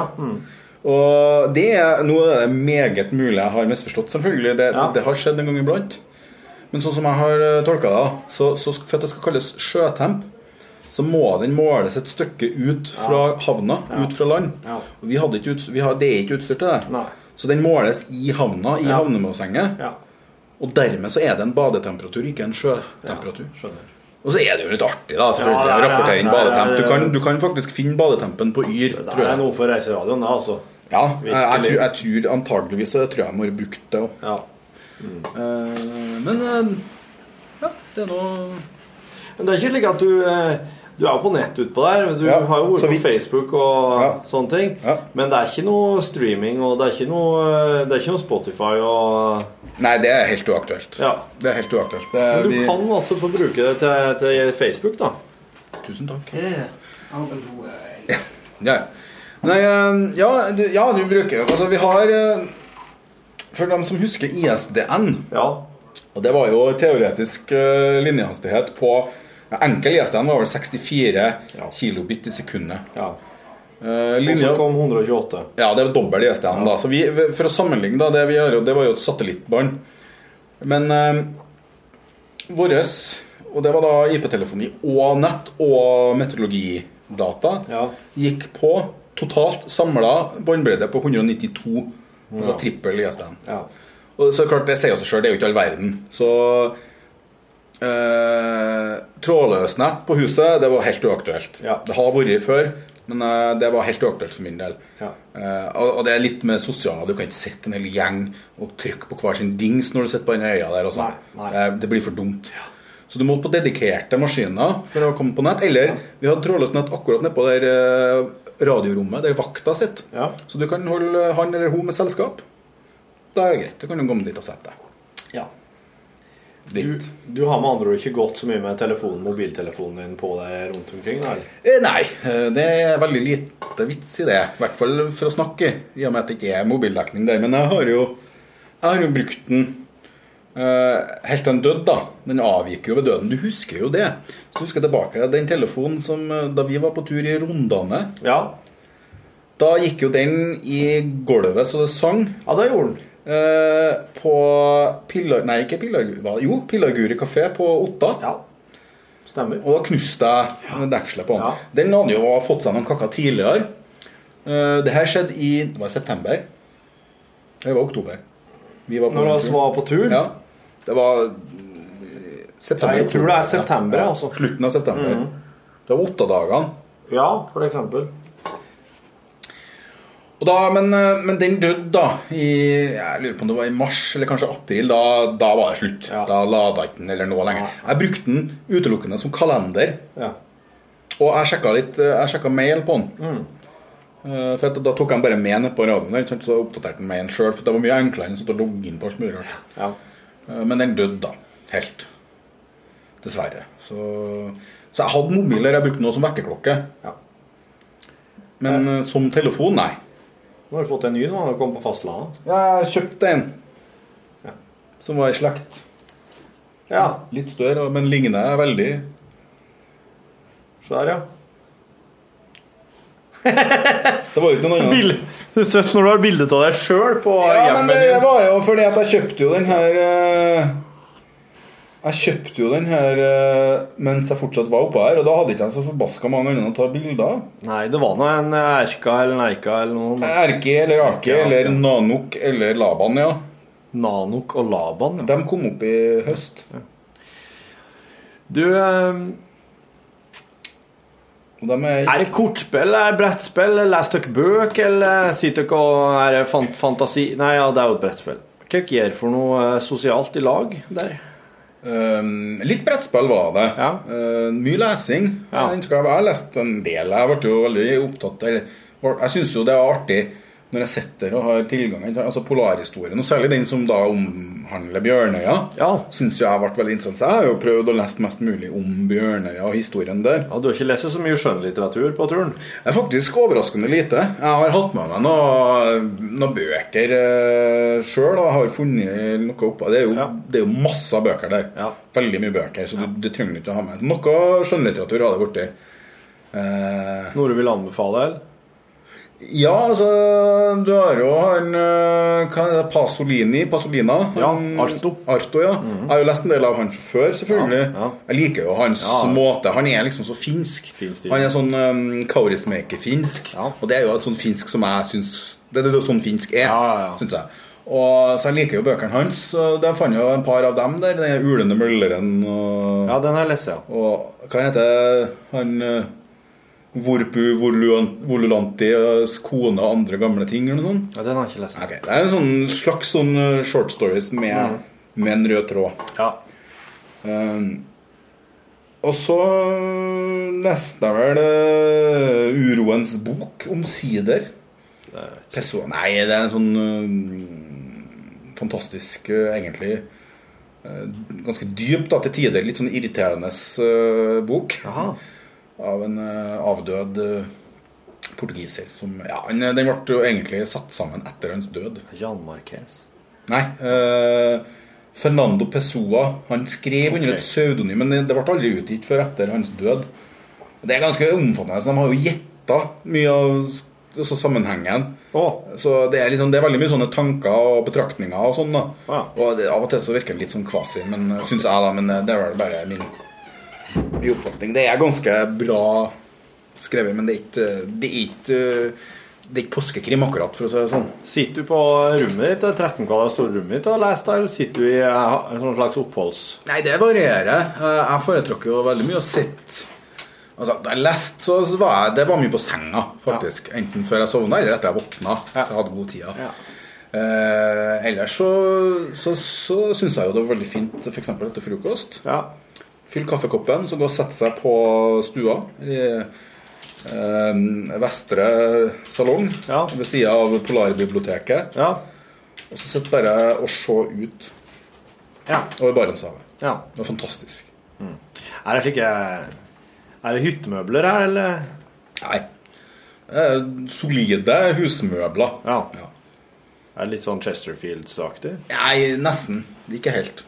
Og det er, nå er det meget mulig jeg har misforstått, selvfølgelig. Det, det har skjedd en gang iblant. Men sånn som jeg har eh, tolka det, så, så sk- for at det skal kalles sjøtemp, så må den måles et stykke ut fra havna, ut fra land. Og vi hadde ikke ut, vi har, det er ikke utstyr til det. Så den måles i havna, i Ja. havnemålsenget. Og dermed så er det en badetemperatur, ikke en sjøtemperatur. og så er det jo litt artig, da, selvfølgelig, Ja, ja, å ja. rapportere inn Ja, ja, ja. badetemp. Du kan, du kan faktisk finne badetempen på Yr, Det tror er jeg. noe for reiseradioen, da, altså. Ja, jeg, jeg, Virkelig. tror, jeg tror antageligvis så tror jeg jeg må ha brukt det òg. men eh, ja, det er noe Men det er ikke slik at du eh, Du er jo på nett utpå der. men Du har jo vært på Facebook og sånne ting. Men det er ikke noe streaming, og det er ikke noe, eh, det er ikke noe Spotify og Nei, det er helt uaktuelt. Ja. Det er helt uaktuelt. Det Men er, du vi- kan altså få bruke det til, til Facebook, da. Tusen takk. Ja. Ja. Nei, eh, ja, du, ja, du bruker jo Altså, vi har eh, For dem som husker ISDN Og det var jo teoretisk eh, linjehastighet på ja, Enkel ISDN var vel 64 kilobit i sekundet. Eh, Og linje- så kom 128. ja, det er jo dobbel ISDN, da. Så vi, for å sammenligne, da, det vi gjør, det var jo et satellittbånd. Men eh, våres Og det var da IP-telefoni og nett og meteorologidata gikk på totalt samla båndbredde på 192. Altså Ja. trippel ISDN. Og så klart, det sier jo seg sjøl, det er jo ikke all verden. Så eh, trådløsnett på huset, det var helt uaktuelt. Det har vært før, men eh, det var helt uaktuelt for min del. Eh, og, og det er litt med sosiale. Du kan ikke sitte en hel gjeng og trykke på hver sin dings når du sitter på den øya der. Også. Eh, det blir for dumt. Så du må på dedikerte maskiner for å komme på nett. Eller vi hadde trådløst nett akkurat nedpå der eh, radiorommet, der vakta sitter. Så du kan holde han eller hun med selskap. Da er det greit. Da kan du komme dit og sette deg. Ja. Du, du har med andre ord ikke gått så mye med telefonen, mobiltelefonen din på deg rundt omkring? Da. eller? Eh, Nei, eh, det er veldig lite vits i det. I hvert fall for å snakke, i og med at det ikke er mobildekning der. Men jeg har jo, jeg har jo brukt den eh, helt til den døde, da. Den avgikk jo ved døden. Du husker jo det. Så husker jeg tilbake den telefonen som eh, da vi var på tur i Rondane. Ja. Da gikk jo den i gulvet så det sang. Eh, Ja, det gjorde den. på Pillar... Nei, ikke Pillarguri. hva- Jo, Pillarguri kafé på Otta. Ja. Stemmer. Og da knuste jeg dekselet på den. Den hadde jo fått seg noen kakker tidligere. Eh, det her skjedde i det var i september. Det var oktober. Vi var Når vi var på tur? Ja. Det var eh, september. Ja, jeg tror det er september, ja. altså. Slutten av september. Mhm. Det var åttedagene. Ja, for eksempel. Og da, men, eh, men den døde da i, Jeg lurer på om det var i mars eller kanskje april. Da, da var det slutt. Da lada ikke den eller noe lenger. Jeg brukte den utelukkende som kalender. Ja. Og jeg sjekka, litt, eh, jeg sjekka mail på den. Mm. Eh, For at, da tok jeg den bare med ned på radioen, der, ikke sant, så oppdaterte den mailen sjøl. For det var mye enklere enn å sitte og logge inn på alt mulig rart. Eh, Men den døde, da. Helt. Dessverre. Så, så jeg hadde mobiler jeg brukte den også som vekkerklokke. Men eh, som telefon, nei. Nå har du fått en ny nå, når du kom på fastlandet. Jeg kjøpte en som var i slekt. Ja. Litt større, men ligner veldig. Så der, ja. Det var jo ikke noe annet. Bilde- Det er søtt når du har bilde av deg sjøl på Ja, men hjemmet det, ditt. var jo fordi at jeg kjøpte jo den her eh, Jeg kjøpte jo den her eh, mens jeg fortsatt var oppå her, og da hadde ikke jeg så forbaska mange andre å ta bilder. Nei, det var nå en Erka eller Nerka eller noe. sånt. Erke eller Ake Erke, ja. eller Nanok eller Laban, ja. Nanok og Laban, ja. De kom opp i høst. Du eh, Er det kortspill, er det brettspill, leser dere bøk, eller sitter dere og er det fan- fantasi Nei, ja, det er jo et brettspill. Hva dere gjør for noe eh, sosialt i lag der? Um, litt brettspill var det. Uh, mye lesing. Jeg har inntrykk av jeg har lest en del. Jeg ble jo veldig opptatt eller, var- Jeg syns jo det er artig når jeg sitter og har tilgang Altså polarhistorien, og særlig den som da omhandler Bjørnøya, ja. syns jeg har vært veldig interessant. Så jeg har jo prøvd å lese mest mulig om Bjørnøya og historien der. Ja, Du har ikke lest så mye skjønnlitteratur på turen? Det er faktisk overraskende lite. Jeg har hatt med meg noen noe bøker eh, sjøl, og jeg har funnet noe oppå det. Er jo, Det er jo masse bøker der. Veldig mye bøker, så du, du trenger ikke å ha med. Noe skjønnlitteratur har det blitt. Eh, Noe du vil anbefale, eller? Ja, altså Du har jo han eh, hva er det, Pasolini. Pasolina. Han- Arto. Mhm. Arto, ja. Jeg har jo lest en del av han fra før, selvfølgelig. Jeg liker jo hans Ja. måte. Han er liksom så finsk. Finsk Han er sånn um, kaurismekefinsk. Og det er jo et sånt finsk som jeg syns Det er jo sånn finsk er, syns jeg. Og, så jeg liker jo bøkene hans. og Der fant jeg jo en par av dem der. Den der ulende mølleren og Ja, den har jeg lest, ja. Og hva heter han eh, Vorpu Voluan- Volulantis kone og andre gamle ting, eller noe sånt? Ja, den har jeg ikke lest. Ok, Det er en sånn slags sånn eh, short stories med, Mhm. med en rød tråd. Um, og så leste jeg vel eh, Uroens bok, omsider. Pessoa Nei, det er en sånn eh, fantastisk, eh, egentlig eh, Ganske dyp da, til tider. Litt sånn irriterende eh, bok. Av en eh, avdød eh, portugiser. Som, ja, han- den ble jo egentlig satt sammen etter hans død. Jan Marquez? Nei. eh, Fernando Pessoa. Han skrev under Ok. et pseudonym, men det- det ble aldri utgitt før etter hans død. Det er ganske omfattende. så De har jo gjetta mye av s- altså sammenhengen. Så det er, litt sånn- det er veldig mye sånne tanker og betraktninger og sånn. da Og det, Av og til så virker det litt sånn kvasi, men eh, syns jeg, da. Men eh, det er vel bare min, min oppfatning. Det er ganske bra skrevet, men det er ikke eh, Det er ikke, eh, det er ikke påskekrim, akkurat, for å si det sånn. Sitter du på rommet ditt, det 13 kvadrat store rommet ditt, og leser det, eller sitter du i eh, en sånn slags oppholds... Nei, det varierer. Eh, Jeg foretrakk jo veldig mye å sitte Altså, Da jeg leste, så så var jeg, det var mye på senga, faktisk. Enten før jeg sovna, eller etter jeg våkna. Så jeg hadde god tid. da. Eh, ellers så, så, så syns jeg jo det var veldig fint f.eks. etter frokost. Fyll kaffekoppen, så gå og sette seg på stua. I eh, vestre salong ved sida av Polarbiblioteket. Og så sitte bare og se ut over Barentshavet. Ja. Det var fantastisk. Er det slike Er det hyttemøbler her, eller? Nei. Eh, Solide husmøbler. Ja. Er det litt sånn Chesterfields-aktig? Nei, nesten. Ikke helt.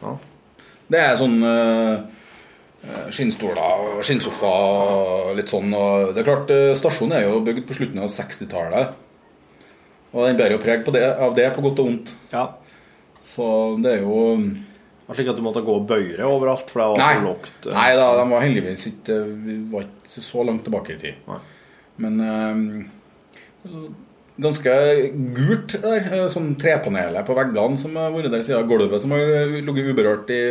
Det er sånn eh, skinnstoler og skinnsofa og litt sånn. Og det er klart, eh, stasjonen er jo bygd på slutten av 60-tallet. Og den bærer jo preg på det, av det, på godt og vondt. Så det er jo Slik at du måtte gå og bøye deg overalt? For det var Nei. for lågt. Nei da, de var heldigvis ikke Vi var ikke så langt tilbake i tid. Men eh, ganske gult der. eh, Sånn trepanelet på veggene som har vært der siden gulvet som har ligget uberørt i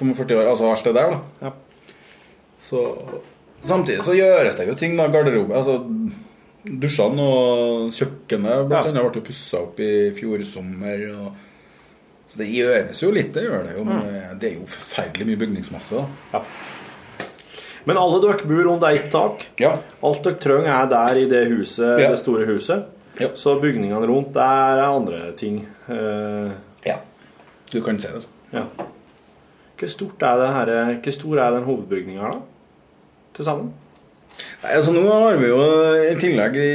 45 år. Altså alt det der, da. Så Samtidig så gjøres det jo ting, da. Garderobe altså, Dusjene og kjøkkenet blant annet ble jo pussa opp i fjor sommer. Og, så det gjøres jo litt, det gjør det jo. Men eh, det er jo forferdelig mye bygningsmasse, da. Men alle dere bor under ett tak. Alt dere trenger, er der i det huset, Ja. det store huset. Så bygningene rundt der er andre ting. Eh, ja. Du kan se det sånn. Ja. Hvor, stort er det her, hvor stor er den hovedbygninga her, da? Til sammen? Nei, altså nå har vi jo eh, I tillegg i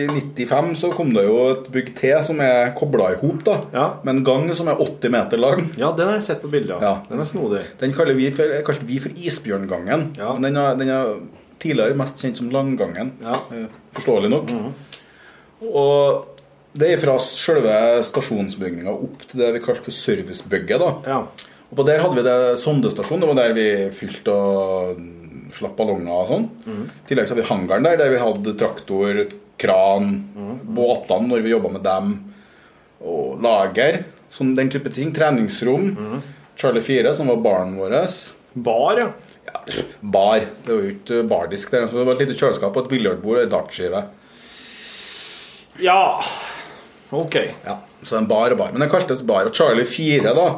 95 så kom det jo et bygg til som er kobla i hop, da. Med en gang som er 80 meter lang. Ja, den har jeg sett på bilder. Ja. Den er snodig. Den kaller vi for, kalte vi for Isbjørngangen. Men Den, er, den er tidligere mest kjent som Langgangen. eh, Forståelig nok. Mhm. Og det er fra selve stasjonsbygninga opp til det vi kalte for servicebygget. da. Og på der hadde vi det sondestasjon. Det var der vi fylte og mm, slapp ballonger og sånn. I tillegg så hadde vi hangaren der, der vi hadde traktor, kran, Mm. båtene når vi jobba med dem, og lager, sånn den type ting. Treningsrom. Charlie 4, som var baren vår. Mm. Bar, ja. pff, Bar. Det var jo ikke bardisk der. Så det var et lite kjøleskap og et biljardbord og ei dartskive. Ja. Ok. Ja, så en bar og bar. Men det kaltes bar. Og Charlie 4, da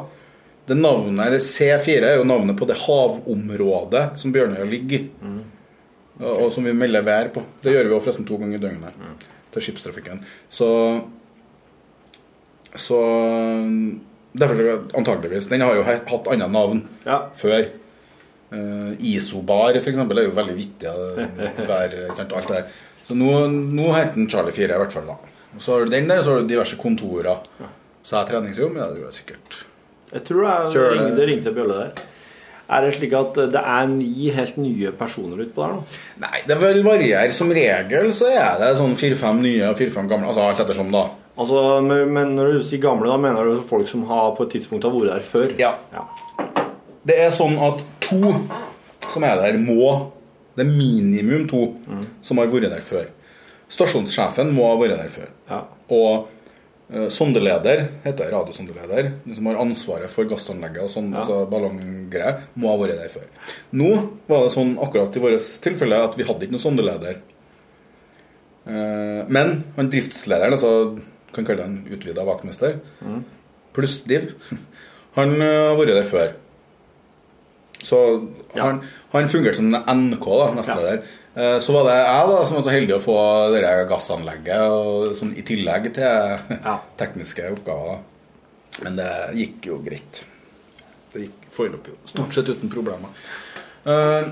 det navnet, eller C4 er jo navnet på det havområdet som Bjørnøya ligger i. Og- Og som vi melder vær på. Det gjør vi jo forresten to ganger i døgnet til skipstrafikken. Så Så Derfor så antageligvis. Den har jo he- hatt andre navn før. Eh, Isobar, for eksempel, er jo veldig *laughs* vittig. eh, Vær, ikke sant, alt det der. Så nå, nå heter den Charlie 4, i hvert fall. da Og Så har du den der, så har du diverse kontorer. Så er treningsrom, ja, det tror jeg sikkert. Jeg tror det, er, Kjøle. det, ringte, det ringte en bjølle der. Er det slik at det er ni helt nye personer utpå der nå? Nei, det vil variere. Som regel så er det sånn fire-fem nye og fire-fem gamle. Altså alt ettersom, da. Altså, men men når du sier gamle, da mener du folk som har på et tidspunkt har vært der før? Ja. Det er sånn at to som er der, må Det er minimum to som har vært der før. Stasjonssjefen må ha vært der før. Og eh, sondeleder, heter det, radiosondeleder, den som har ansvaret for gassanlegget og sånn, altså ballonggreier, må ha vært der før. Nå var det sånn akkurat i vårt tilfelle at vi hadde ikke noen sondeleder. Eh, men han driftslederen, altså kan kalle han utvida vaktmester, pluss Div. *laughs* Han ø, har vært der før. Så han, han fungerte som en NK, da, nestleder. Eh, Så var det jeg da som var så heldig å få det der gassanlegget og, sånn, i tillegg til *laughs* tekniske oppgaver. Da. Men det gikk jo greit. Det gikk foreløpig jo stort sett uten problemer. Eh,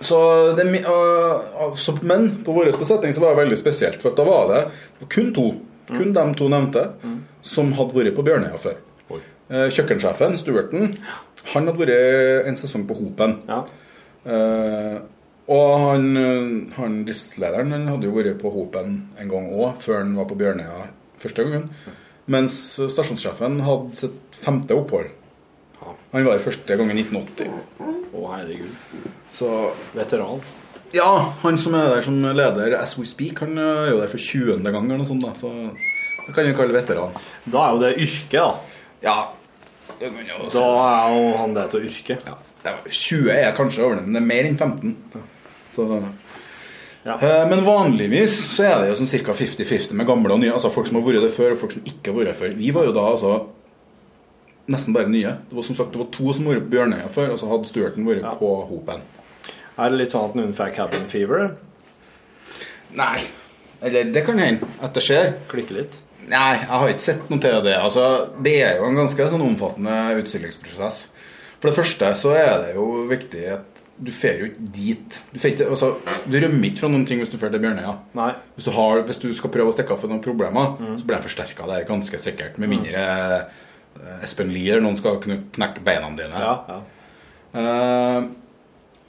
Så det, mi- og- og- så, men på vår besetning så var det veldig spesielt, for at da var det kun to, kun de to nevnte, som hadde vært på Bjørnøya før. Eh, Kjøkkensjefen, Stuarten, han hadde vært en sesong på Hopen. Eh, og han, eh, han driftslederen han hadde jo vært på Hopen en gang òg, før han var på Bjørnøya første gangen. Mens stasjonssjefen hadde sitt femte opphold. Han var der første gang i 1980. Å, herregud. Så Veteran. Ja, han som er der som leder As We Speak, han eh, er jo der for 20. gang eller noe sånt, da. Så det kan vi kalle veteran. Da er jo det yrket, da. Ja. Da er jo han det til yrke. Ja. det er- 20 er kanskje over det, men det er mer enn 15. Så, Eh, Men vanligvis så er det jo sånn ca. 50-50 med gamle og nye. Altså folk som har vært der før, og folk som ikke har vært der før. Vi var jo da altså nesten bare nye. Det var som sagt det var to som var på Bjørnøya før, og så hadde Stuarten vært på Hopen. Er det litt sånn at noen fikk cabin fever? Nei. Eller det kan hende at det skjer. Klikke litt. Nei, jeg har ikke sett noe til det. Altså, det er jo en ganske sånn omfattende utstillingsprosess. For det første så er det jo viktig at du fer jo ikke dit. Du, fer ikke, altså, du rømmer ikke fra noen ting hvis du fer til Bjørnøya. Nei. Mm. Hvis du, har, hvis du skal prøve å stikke av for noen problemer, så blir de forsterka der ganske sikkert. Med mindre eh, Espen Lier, noen skal knu- knekke beina dine. Eh,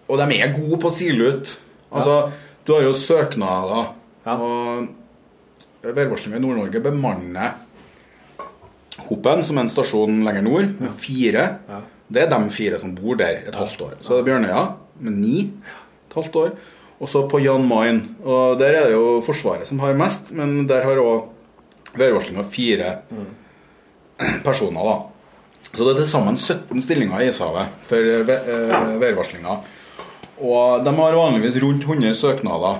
og de er gode på å sile ut. Altså, du har jo søknader. Og værvarslingen i Nord-Norge bemanner Hopen, som er en stasjon lenger nord, med fire. Det er de fire som bor der et halvt år. Så er det Bjørnøya med ni. Et halvt år. Og så på Jan Mayen. Og der er det jo Forsvaret som har mest, men der har òg værvarslinga fire *clears throat* personer, da. Så det er til sammen 17 stillinger i Ishavet for eh, ve- eh, værvarslinga. Og de har vanligvis rundt 100 søknader.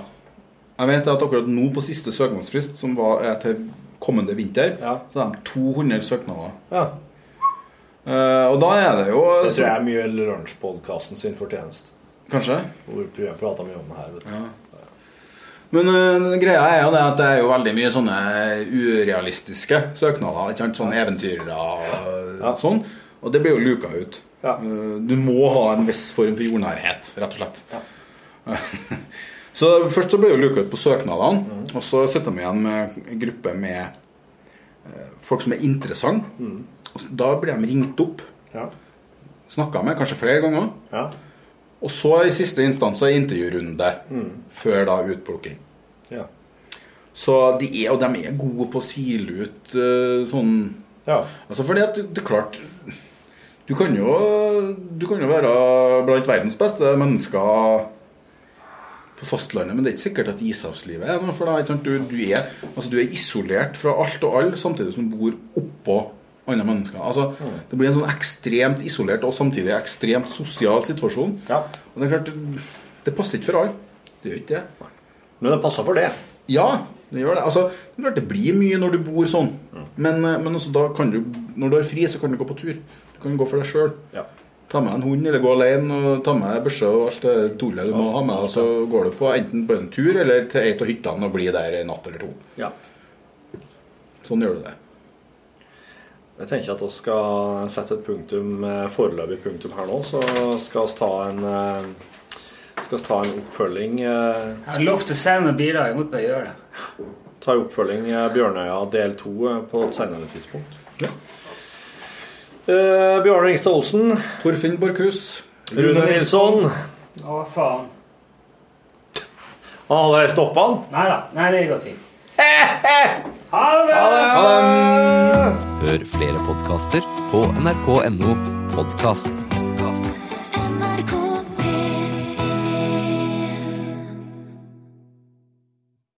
Jeg vet at akkurat nå på siste søknadsfrist, som var er til kommende vinter, så er det 200 søknader. Ja. Eh, og da er det jo Det tror jeg er mye lunsjpodkasten sin fortjeneste. Kanskje? Hvor vi prater mye om det her. Vet du. Men eh, greia er jo det at det er jo veldig mye sånne eh, urealistiske søknader. Ikke sant? Sånne eventyrere og sånn. Og det blir jo luka ut. Eh, Du må ha en viss form for jordnærhet, rett og slett. *laughs* så først så blir det jo luka ut på søknadene, og så sitter de igjen med en gruppe med eh, folk som er interessante. 음. Og Da blir de ringt opp. Ja. Snakka med kanskje flere ganger. Og så i siste instans så er intervjurunde før da utplukking. Ja. Så de er, og de er gode på å sile ut eh, sånn Altså fordi at det er klart Du kan jo, du kan jo være blant verdens beste mennesker på fastlandet, men det er ikke sikkert at ishavslivet er noe for deg. ikke sant? Du, du, er, altså, du er isolert fra alt og alle, samtidig som du bor oppå andre mennesker. Altså, Det blir en sånn ekstremt isolert og samtidig ekstremt sosial situasjon. Og det er klart, det passer ikke for alle. Det gjør ikke det. Men det passer for det. Ja, det gjør det. Altså, det, er klart det blir mye når du bor sånn, men, eh, men også da kan du, når du har fri, så kan du gå på tur. Du kan gå for deg sjøl. Ta med en hund, eller gå alene, og ta med børse og alt det tullet du må ha med. Og så går du på enten på en tur eller til ei av hyttene og blir der en natt eller to. Ja. Sånn gjør du det. Jeg tenker at vi skal sette et punktum, eh, foreløpig punktum her nå, så skal vi ta en eh, skal vi ta en oppfølging eh, Jeg har lovt å sende noen bidrag. Jeg måtte bare gjøre det. Ta en oppfølging eh, Bjørnøya del 2 på et senere tidspunkt. Eh, Bjarne Ringstad Olsen. Torfinn Borchhus. Rune Nilsson. Å, faen. Har dere stoppa han? Nei da. Nei, det går fint. Ha det! Hør flere podkaster på nrk.no podkast.